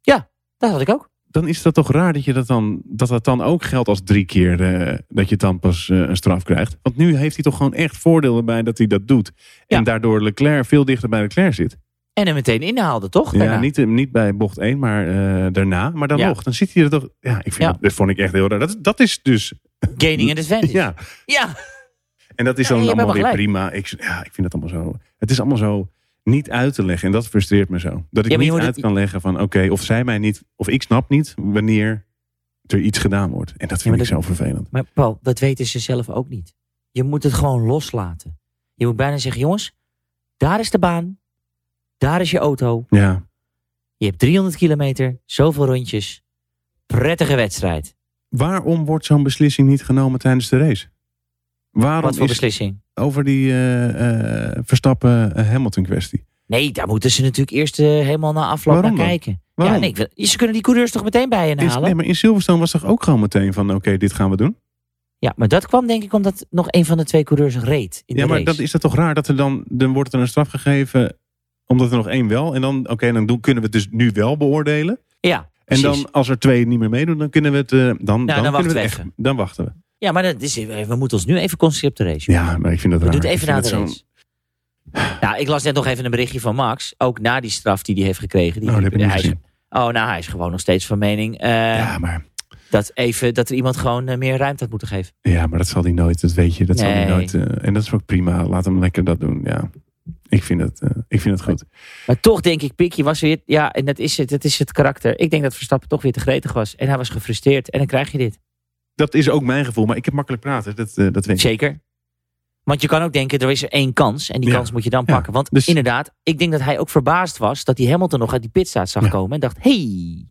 S1: eh,
S2: Dat had ik ook.
S1: dan is dat toch raar dat je dat dan, dat, dat dan ook geldt als drie keer eh, dat je dan pas eh, een straf krijgt. Want nu heeft hij toch gewoon echt voordeel erbij dat hij dat doet.
S2: Ja.
S1: En daardoor Leclerc veel dichter bij Leclerc zit.
S2: En hem meteen inhaalde, toch?
S1: Ja,
S2: Daarna.
S1: niet, eh, niet bij bocht 1, maar eh, daarna. Maar dan
S2: Ja.
S1: nog, dan zit hij er toch. Ja, ik vind
S2: Ja.
S1: Dat, dat vond ik echt heel raar. Dat, dat is dus.
S2: Gaining an advantage.
S1: Ja,
S2: ja.
S1: en dat is
S2: Ja,
S1: dan
S2: je hebt
S1: allemaal weer
S2: helemaal
S1: prima. Ik, ja, ik vind dat allemaal zo. Het is allemaal zo niet uit te leggen. En dat frustreert me zo. Dat ik
S2: Ja, maar
S1: niet
S2: je moet
S1: uit
S2: het-
S1: kan leggen van oké, of zij mij niet, of ik snap niet wanneer er iets gedaan wordt. En dat vind
S2: maar
S1: ik zo vervelend.
S2: Maar Paul, dat weten ze zelf ook niet. Je moet het gewoon loslaten. Je moet bijna zeggen, jongens, daar is de baan. Daar is je auto.
S1: Ja,
S2: Je hebt 300 kilometer, zoveel rondjes. Prettige wedstrijd.
S1: waarom wordt zo'n beslissing niet genomen tijdens de race? Waarom
S2: Wat voor
S1: is
S2: beslissing?
S1: over die eh, eh, Verstappen eh, Hamilton kwestie?
S2: Nee, daar moeten ze natuurlijk eerst eh, helemaal naar afloop
S1: Waarom
S2: naar
S1: dan?
S2: kijken.
S1: Waarom?
S2: Ja, nee, nou, ik wil- ze kunnen die coureurs toch meteen bij hen
S1: Is,
S2: halen?
S1: nee, maar in Silverstone was toch ook gewoon meteen van oké, dit gaan we doen.
S2: Ja, maar dat kwam denk ik omdat nog een van de twee coureurs reed in
S1: ja,
S2: de
S1: maar
S2: race.
S1: dat is dat toch raar dat er dan, dan wordt er een straf gegeven omdat er nog één wel. En dan oké, dan doen, kunnen we het dus nu wel beoordelen.
S2: Ja,
S1: En
S2: precies. Nou,
S1: dan als er twee niet meer meedoen, dan kunnen we het eh, dan, dan,
S2: dan
S1: kunnen
S2: wachten
S1: we
S2: we
S1: het echt-
S2: even.
S1: dan wachten we.
S2: ja, maar dat is, we moeten ons nu even concentreren op de race.
S1: Ja, maar ik vind dat
S2: We
S1: raar.
S2: doen het even
S1: Ik
S2: na
S1: vind
S2: de
S1: dat zo'n-
S2: race. Nou, ik las net nog even een berichtje van Max. Ook na die straf die hij heeft gekregen. Die
S1: Nou, dat heb ik niet
S2: hij is-
S1: gezien.
S2: oh, nou, hij is gewoon nog steeds van mening eh,
S1: Ja, maar,
S2: dat, even, dat er iemand gewoon eh, meer ruimte had moeten geven.
S1: ja, maar dat zal hij nooit, dat weet je. Dat zal hij
S2: Nee.
S1: nooit. eh, en dat is ook prima. Laat hem lekker dat doen. Ja, ik vind het, eh, ik vind het goed.
S2: Maar toch denk ik, Pikje was weer... Ja, en dat is het, dat is het karakter. Ik denk dat Verstappen toch weer te gretig was. En hij was gefrustreerd. En dan krijg je dit.
S1: Dat is ook mijn gevoel, maar ik heb makkelijk praten. Dat, eh, dat weet ik.
S2: Zeker. Want je kan ook denken, er is er één kans. En die
S1: Ja.
S2: kans moet je dan
S1: Ja.
S2: pakken. Want
S1: Dus-
S2: inderdaad, ik denk dat hij ook verbaasd was... dat hij Hamilton nog uit die pitstaat zag
S1: Ja.
S2: komen. En dacht, hey,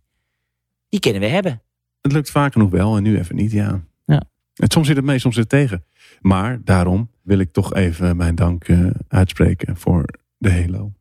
S2: die kunnen we hebben.
S1: Het lukt vaak genoeg wel en nu even niet, ja.
S2: Ja.
S1: En soms zit het mee, soms zit het tegen. Maar daarom wil ik toch even mijn dank eh, uitspreken voor de Halo.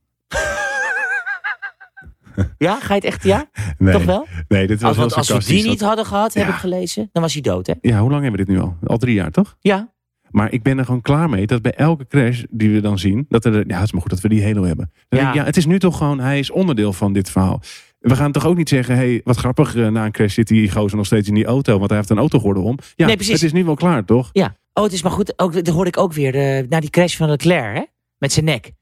S2: Ja, ga je het echt... Ja?
S1: Nee,
S2: Toch wel?
S1: Nee, dit was
S2: Als,
S1: wel
S2: want als we die
S1: sarcastisch.
S2: niet hadden gehad, heb
S1: Ja.
S2: ik gelezen, dan was hij dood, hè?
S1: Ja, hoe lang hebben we dit nu al? Al drie jaar, toch?
S2: Ja.
S1: Maar ik ben er gewoon klaar mee dat bij elke crash die we dan zien, dat er, ja, het is maar goed dat we die Halo hebben. Dan
S2: Ja.
S1: denk ik, ja, het is nu toch gewoon, hij is onderdeel van dit verhaal. We gaan toch ook niet zeggen, hey, wat grappig, eh, na een crash zit die gozer nog steeds in die auto, want hij heeft een autogordel om. Ja,
S2: Nee, precies.
S1: het is nu wel klaar, toch?
S2: Ja. Oh, het is maar goed. Ook, dat hoorde ik ook weer. eh, na die crash van Leclerc, hè? Met zijn nek.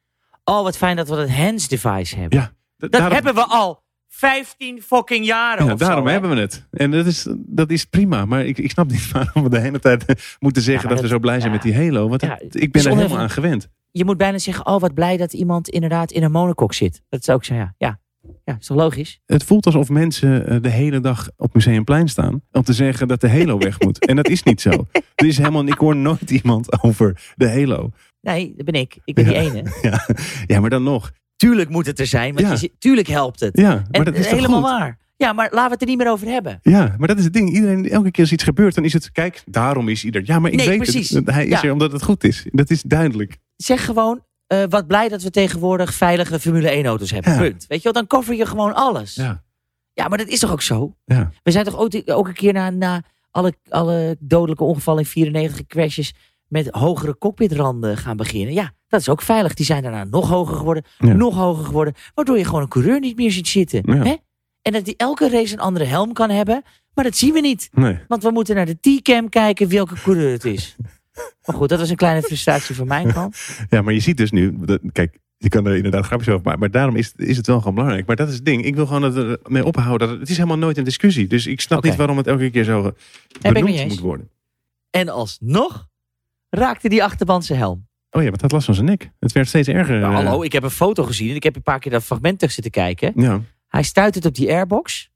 S2: Oh, wat fijn dat we dat hands device hebben.
S1: Ja,
S2: Dat hebben we al 15 fucking jaren.
S1: Ja,
S2: of zo,
S1: daarom
S2: hè?
S1: hebben we het. En dat is, dat is prima. Maar ik, ik snap niet waarom we de hele tijd moeten zeggen
S2: Ja,
S1: dat, we
S2: maar dat-
S1: zo blij zijn
S2: ja.
S1: met die Halo. Want
S2: Ja,
S1: het-
S2: het
S1: ik
S2: is
S1: ben er helemaal
S2: oneven-
S1: aan gewend.
S2: Je moet bijna zeggen, oh, wat blij dat iemand inderdaad in een monocoque zit. Dat is ook zo, ja. Ja, ja is toch logisch?
S1: Het voelt alsof mensen eh, de hele dag op Museumplein staan om te zeggen dat de Halo weg moet. En dat is niet zo. Er is helemaal, ik hoor nooit iemand over de Halo.
S2: Nee, dat ben ik. Ik ben die
S1: Ja.
S2: ene.
S1: Ja, ja maar dan nog.
S2: Tuurlijk moet het er zijn, want
S1: Ja.
S2: je zit- tuurlijk helpt het.
S1: Ja, maar
S2: en
S1: dat is toch
S2: helemaal
S1: goed?
S2: waar. Ja, maar laten we het er niet meer over hebben.
S1: Ja, maar dat is het ding. Iedereen, elke keer als iets gebeurt, dan is het, kijk, daarom is ieder. Ja, maar ik
S2: Nee,
S1: weet
S2: precies.
S1: het. Hij is
S2: Ja.
S1: er omdat het goed is. Dat is duidelijk.
S2: zeg gewoon, eh, wat blij dat we tegenwoordig veilige Formule 1 auto's hebben.
S1: Ja.
S2: Punt. Weet je wel, dan cover je gewoon alles. Ja.
S1: Ja,
S2: maar dat is toch ook zo?
S1: ja.
S2: We zijn toch ook, ook een keer na, na alle, alle dodelijke ongevallen in 94 crashes met hogere cockpitranden gaan beginnen. Ja, dat is ook veilig. Die zijn daarna nog hoger geworden,
S1: Ja.
S2: nog hoger geworden. Waardoor je gewoon een coureur niet meer ziet zitten.
S1: Ja.
S2: Hè? En dat die elke race een andere helm kan hebben. Maar dat zien we niet.
S1: Nee.
S2: Want we moeten naar de T-cam kijken welke coureur het is. maar goed, dat was een kleine frustratie van mijn kant.
S1: Ja, maar je ziet dus nu, dat- kijk, je kan er inderdaad grapjes over maken, maar daarom is, is het wel gewoon belangrijk. Maar dat is het ding. Ik wil gewoon dat we ermee ophouden. Dat het, het is helemaal nooit een discussie. Dus ik snap
S2: Oké.
S1: niet waarom het elke keer zo eh,
S2: mee
S1: benoemd
S2: eens.
S1: moet worden.
S2: En alsnog raakte die achterban zijn helm.
S1: Oh ja, want dat last van zijn nek. Het werd steeds erger.
S2: Nou,
S1: eh.
S2: hallo, ik heb een foto gezien en ik heb een paar keer dat fragment terug zitten kijken.
S1: Ja,
S2: Hij stuit het op die airbox.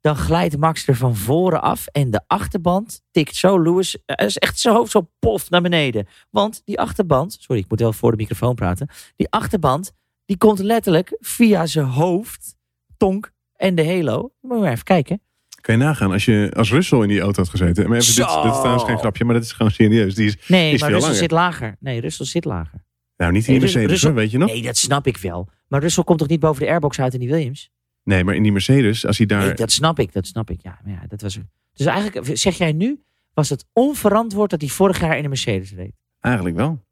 S2: Dan glijdt Max er van voren af en de achterband tikt zo Lewis. eh, is echt zijn hoofd zo pof naar beneden. Want die achterband, sorry, ik moet wel voor de microfoon praten. Die achterband, die komt letterlijk via zijn hoofd, tonk en de halo. Moet je maar even kijken.
S1: kan je nagaan. Als, je, als Russell in die auto had gezeten. Maar even, dit,
S2: Zo.
S1: dit is trouwens geen grapje, maar dat is gewoon serieus. Die is,
S2: Nee,
S1: Is
S2: maar
S1: veel
S2: Russell
S1: langer.
S2: zit lager. Nee, Russell zit lager.
S1: nou, niet in die
S2: Nee,
S1: Mercedes,
S2: Russell-
S1: hoor, weet je nog? Nee.
S2: Nee, dat snap ik wel. Maar Russell komt toch niet boven de airbox uit in die Williams?
S1: maar in die Mercedes, als hij daar...
S2: Nee, dat snap ik, dat snap ik. Ja, maar ja, dat was Dus eigenlijk zeg jij nu, was het onverantwoord dat hij vorig jaar in de Mercedes reed.
S1: Eigenlijk wel.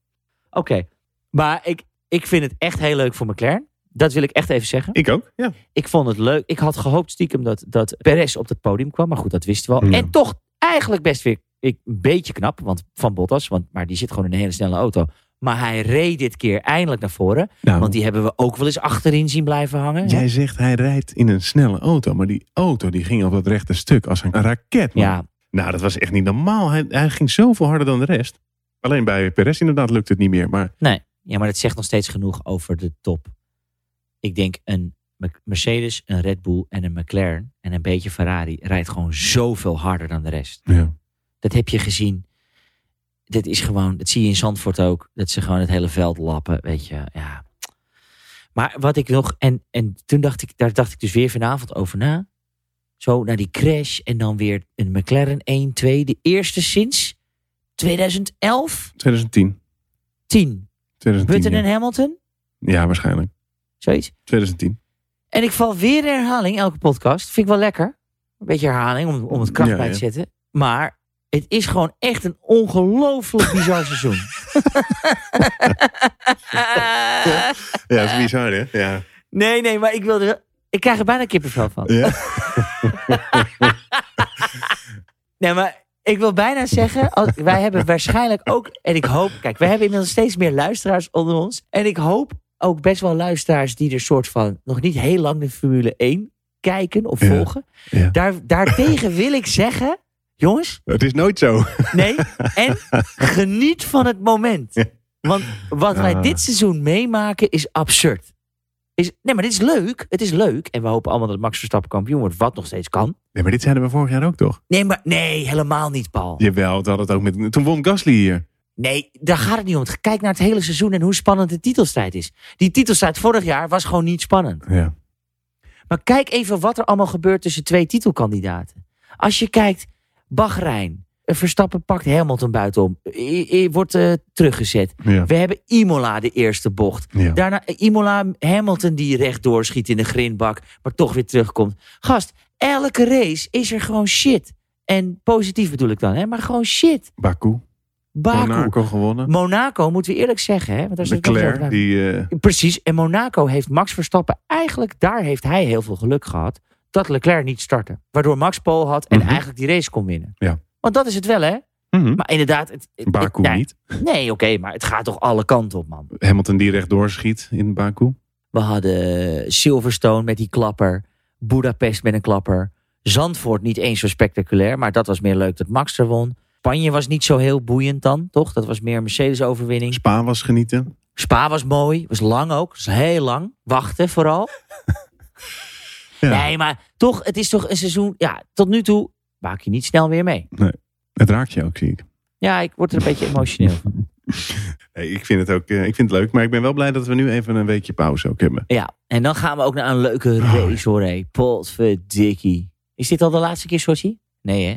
S2: Oké, maar ik, ik vind het echt heel leuk voor McLaren. Dat wil ik echt even zeggen.
S1: Ik ook, ja.
S2: Ik vond het leuk. Ik had gehoopt stiekem dat, dat Perez op het podium kwam. Maar goed, dat wisten we al.
S1: Ja.
S2: En toch eigenlijk best weer ik, een beetje knap. Want van Bottas, want, maar die zit gewoon in een hele snelle auto. Maar hij reed dit keer eindelijk naar voren.
S1: Nou,
S2: Want die hebben we ook wel eens achterin zien blijven hangen.
S1: jij zegt hij rijdt in een snelle auto. Maar die auto die ging op dat rechte stuk als een raket. man.
S2: ja,
S1: Nou, dat was echt niet normaal. Hij, hij ging zoveel harder dan de rest. Alleen bij Perez inderdaad lukt het niet meer. Maar
S2: Ja, maar dat zegt nog steeds genoeg over de top. Ik denk een Mer- Mercedes, een Red Bull en een McLaren en een beetje Ferrari rijdt gewoon zoveel harder dan de rest.
S1: Ja.
S2: Dat heb je gezien. Dit is gewoon, dat zie je in Zandvoort ook. Dat ze gewoon het hele veld lappen, weet je. Ja. Maar wat ik nog, en, en toen dacht ik, daar dacht ik dus weer vanavond over na. Zo naar die crash en dan weer een McLaren 1, 2. De eerste sinds 2011,
S1: 2010.
S2: 10.
S1: 2010
S2: Button
S1: ja.
S2: en Hamilton,
S1: ja, waarschijnlijk.
S2: zoiets.
S1: 2010.
S2: En ik val weer in herhaling elke podcast. Vind ik wel lekker. Een beetje herhaling om, om het kracht
S1: Ja,
S2: bij te
S1: ja.
S2: zetten. Maar het is gewoon echt een ongelooflijk bizar seizoen.
S1: Ja, dat is bizar, hè? Ja.
S2: nee, nee, maar ik wilde. Ik krijg er bijna kippenvel van.
S1: ja.
S2: Nee, maar ik wil bijna zeggen, als- wij hebben waarschijnlijk ook, en ik hoop, kijk, wij hebben inmiddels steeds meer luisteraars onder ons. En ik hoop ook best wel luisteraars die er soort van nog niet heel lang de Formule 1 kijken of
S1: Ja,
S2: volgen.
S1: ja.
S2: Daar, daartegen wil ik zeggen, jongens,
S1: Het is nooit zo.
S2: nee, en geniet van het moment. Want wat wij
S1: Ah.
S2: dit seizoen meemaken is absurd. Is, nee, maar dit is leuk. Het is leuk. En we hopen allemaal dat Max Verstappen kampioen wordt, wat nog steeds kan.
S1: Nee, maar dit zeiden we vorig jaar ook, toch?
S2: Nee, maar nee, helemaal niet, Paul.
S1: Jawel, dat had het ook met... Toen won Gasly hier.
S2: Nee, daar gaat het niet om. Kijk naar het hele seizoen en hoe spannend de titelstrijd is. Die titelstrijd vorig jaar was gewoon niet spannend.
S1: Ja.
S2: Maar kijk even wat er allemaal gebeurt tussen twee titelkandidaten. Als je kijkt, Bahrein. eh, Verstappen pakt Hamilton buitenom. I- I- Wordt eh, teruggezet.
S1: Ja.
S2: We hebben Imola de eerste bocht.
S1: Ja.
S2: Daarna eh, Imola Hamilton die rechtdoor schiet in de grindbak. Maar toch weer terugkomt. Gast, elke race is er gewoon shit. En positief bedoel ik dan, hè? maar gewoon shit.
S1: Baku.
S2: Baku.
S1: Monaco gewonnen.
S2: Monaco, moeten we eerlijk zeggen. Hè? Want daar zit ook nog wat
S1: Leclerc,
S2: aan.
S1: die... eh,
S2: Precies, en Monaco heeft Max Verstappen... eigenlijk daar heeft hij heel veel geluk gehad... dat Leclerc niet startte. Waardoor Max Pol had en
S1: Mhm.
S2: eigenlijk die race kon winnen.
S1: Ja.
S2: Want dat is het wel, hè?
S1: mhm.
S2: Maar inderdaad... Het, het-
S1: Baku
S2: het- nee,
S1: niet.
S2: Nee, oké, maar het gaat toch alle kanten op, man.
S1: Hamilton die rechtdoor schiet in Baku.
S2: We hadden Silverstone met die klapper... Budapest met een klapper... Zandvoort niet eens zo spectaculair... maar dat was meer leuk dat Max er won... Spanje was niet zo heel boeiend dan, toch? Dat was meer een Mercedes-overwinning.
S1: Spa was genieten.
S2: Spa was mooi, was lang ook, was heel lang. Wachten vooral.
S1: Ja.
S2: Nee, maar toch, het is toch een seizoen. Ja, tot nu toe maak je niet snel weer mee.
S1: Het raakt je ook, zie ik.
S2: Ja, ik word er een beetje emotioneel van.
S1: Hey, ik vind het ook eh, ik vind het leuk, maar ik ben wel blij dat we nu even een weekje pauze ook hebben.
S2: Ja, en dan gaan we ook naar een leuke race hoor, hé. Potverdikkie. Is dit al de laatste keer, Sochi? Nee, hè?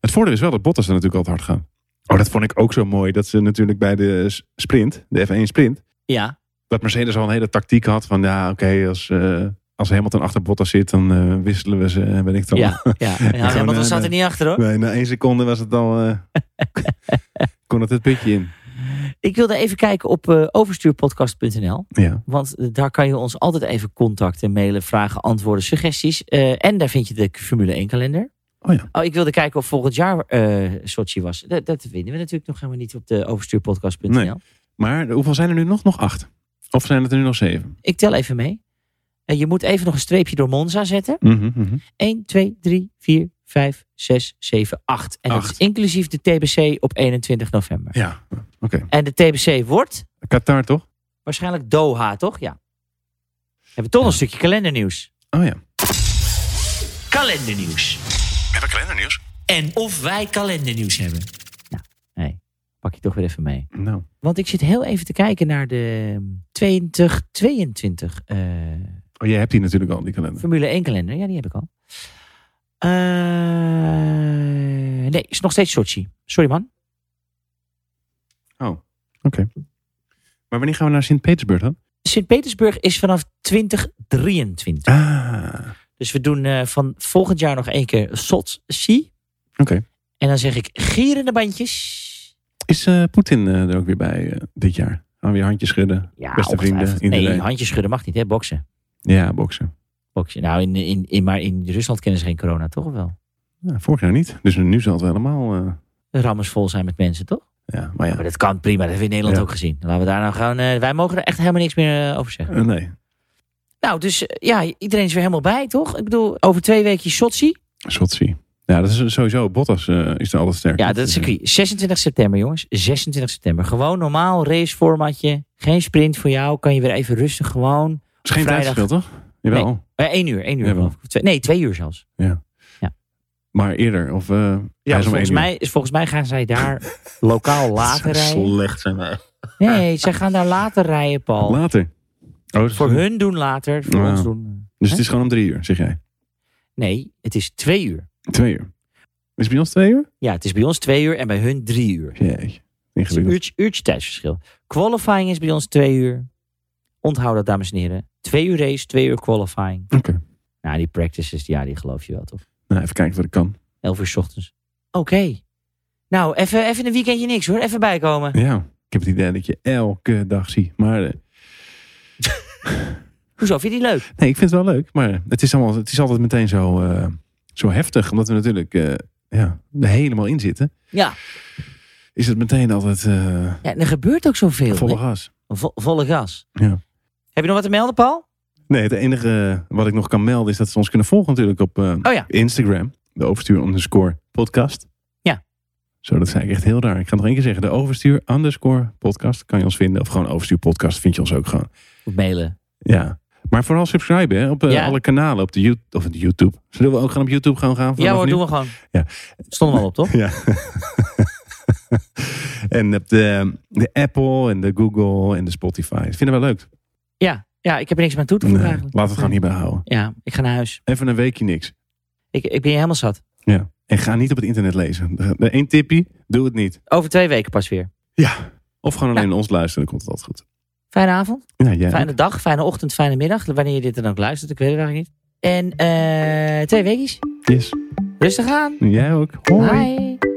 S1: Het voordeel is wel dat Bottas er natuurlijk altijd hard gaan. Oh, dat vond ik ook zo mooi. Dat ze natuurlijk bij de s- sprint, de F1 sprint,
S2: Ja.
S1: dat Mercedes al een hele tactiek had van ja, oké, als, eh als Hamilton achter Bottas zit, dan eh, wisselen we ze, eh, weet ik dan.
S2: Ja, ja. ja,
S1: Gewoon,
S2: want we
S1: eh,
S2: zaten er niet achter hoor.
S1: Nee, na één seconde was het al, eh, kon het het putje in.
S2: Ik wilde even kijken op eh, overstuurpodcast.nl.
S1: Ja,
S2: Want eh, daar kan je ons altijd even contacten, mailen, vragen, antwoorden, suggesties. Eh, en daar vind je de Formule 1 kalender.
S1: Oh ja.
S2: Oh, ik wilde kijken of volgend jaar eh Sochi was. Dat, dat vinden we natuurlijk nog helemaal niet op de overstuurpodcast.nl.
S1: Nee. maar hoeveel zijn er nu nog? Nog acht. Of zijn het er nu nog zeven?
S2: Ik tel even mee. En je moet even nog een streepje door Monza zetten.
S1: Mhm, mhm.
S2: 1, 2, 3, 4, 5, 6, 7, 8. En dat
S1: Acht.
S2: is inclusief de TBC op 21 november.
S1: Ja, oké.
S2: En de TBC wordt
S1: Qatar toch?
S2: waarschijnlijk Doha, toch? Ja. We hebben toch een stukje kalendernieuws.
S1: Oh ja.
S2: Kalendernieuws.
S1: Hebben we kalendernieuws?
S2: En of wij kalendernieuws hebben. Nou, nee. Pak je toch weer even mee.
S1: Nou,
S2: Want ik zit heel even te kijken naar de 2022 eh
S1: oh, jij hebt die natuurlijk al, die kalender.
S2: Formule 1 kalender. Ja, die heb ik al. Eh, nee, is nog steeds Sochi. Sorry man.
S1: Oh, oké. Maar wanneer gaan we naar Sint-Petersburg dan?
S2: Sint-Petersburg is vanaf 2023.
S1: Ah,
S2: Dus we doen eh, van volgend jaar nog één keer Sochi.
S1: oké.
S2: En dan zeg ik gierende bandjes.
S1: Is eh, Poetin eh, er ook weer bij eh, dit jaar? Gaan we weer handjes schudden?
S2: Ja,
S1: Beste vrienden,
S2: ongetwijfeld.
S1: iedereen.
S2: Nee, handjes schudden mag niet hè, boksen.
S1: Ja, boksen.
S2: Boksen. Nou, in, in, in, maar in Rusland kennen ze geen corona, toch of wel?
S1: Ja, vorig jaar niet. Dus nu zal het wel helemaal... eh,
S2: De Rammers vol zijn met mensen, toch?
S1: ja, maar ja.
S2: Maar dat kan prima, dat hebben we in Nederland
S1: Ja.
S2: ook gezien. Laten we daar nou gewoon... eh, wij mogen er echt helemaal niks meer eh, over zeggen.
S1: Eh, nee.
S2: Nou, dus eh, ja, iedereen is weer helemaal bij, toch? Ik bedoel, over twee weken Sochi.
S1: Sochi. Ja, dat is sowieso... Bottas eh, is er altijd sterk.
S2: Ja, dat is circuit. 26 september, jongens. 26 september. Gewoon normaal raceformatje. Geen sprint voor jou. Kan je weer even rustig gewoon...
S1: Het is geen
S2: Vrijdag.
S1: tijdverschil, toch? Jawel.
S2: Eh, één uur, één uur.
S1: Jawel.
S2: geloof ik. Of twee- nee, twee uur zelfs.
S1: Maar eerder. Of, eh, hij is om
S2: Ja,
S1: één
S2: volgens,
S1: uur.
S2: mij, is- volgens mij gaan zij daar lokaal later rijden.
S5: Slecht zijn wij.
S2: Nee, zij gaan daar later rijden, Paul.
S1: Later. Oh, dat is-
S2: Voor hun doen later, voor
S1: Ja.
S2: ons doen.
S1: Dus het is gewoon om drie uur, zeg jij.
S2: Nee, het is twee uur.
S1: Twee uur. Is het bij ons twee uur?
S2: Ja, het is bij ons twee uur en bij hun drie uur.
S1: Jee.
S2: Het is een
S1: Ingewikkeld.
S2: uurtje, uurtje tijdsverschil. Qualifying is bij ons twee uur. Onthoud dat, dames en heren. Twee uur race, twee uur qualifying.
S1: Oké.
S2: Nou, die practices, ja, die geloof je wel, toch?
S1: Nou, even kijken wat ik kan.
S2: Elf uur 's ochtends. Oké. Nou, even, even een weekendje niks hoor. Even bijkomen.
S1: Ja. Ik heb het idee dat ik je elke dag zie. Maar eh,
S2: Hoezo, vind je die leuk?
S1: nee, ik vind het wel leuk. Maar het is, allemaal, het is altijd meteen zo, eh, zo heftig. Omdat we natuurlijk eh, ja, er helemaal in zitten.
S2: Ja.
S1: Is het meteen altijd eh
S2: ja en er gebeurt ook zoveel.
S1: volle
S2: hè?
S1: gas.
S2: Vo- volle gas.
S1: Ja.
S2: Heb je nog wat te melden, Paul?
S1: Nee, het enige wat ik nog kan melden is dat ze ons kunnen volgen natuurlijk op eh,
S2: Oh ja.
S1: Instagram. De overstuur underscore podcast.
S2: Ja.
S1: Zo, dat zei ik echt heel raar. Ik ga het nog één keer zeggen. De overstuur underscore podcast kan je ons vinden. Of gewoon overstuur podcast vind je ons ook gewoon.
S2: Of mailen.
S1: Ja. Maar vooral subscriben hè, op eh,
S2: Ja.
S1: alle kanalen. Op de YouTube. Of de YouTube. Zullen we ook gaan op YouTube gaan gaan?
S2: Ja hoor, doen we gewoon.
S1: Ja.
S2: Stonden we al op, toch?
S1: Ja. en op de, de Apple en de Google en de Spotify. Dat vinden we leuk.
S2: Ja. Ja, ik heb er niks meer aan toe te
S1: Nee,
S2: voegen
S1: laten
S2: eigenlijk.
S1: we het gewoon hierbij houden.
S2: Ja, ik ga naar huis.
S1: Even een weekje niks.
S2: Ik, ik ben je helemaal zat.
S1: Ja. En ga niet op het internet lezen. Eén tipje, doe het niet.
S2: Over twee weken pas weer.
S1: Ja. Of gewoon alleen ons luisteren, dan komt het altijd goed.
S2: Fijne avond.
S1: Ja, jij ook.
S2: Fijne dag, fijne ochtend, fijne middag. Wanneer je dit dan ook luistert, ik weet het eigenlijk niet. En eh, twee weekjes.
S1: Yes.
S2: Rustig aan.
S1: Jij ook. Hoi.
S2: Bye.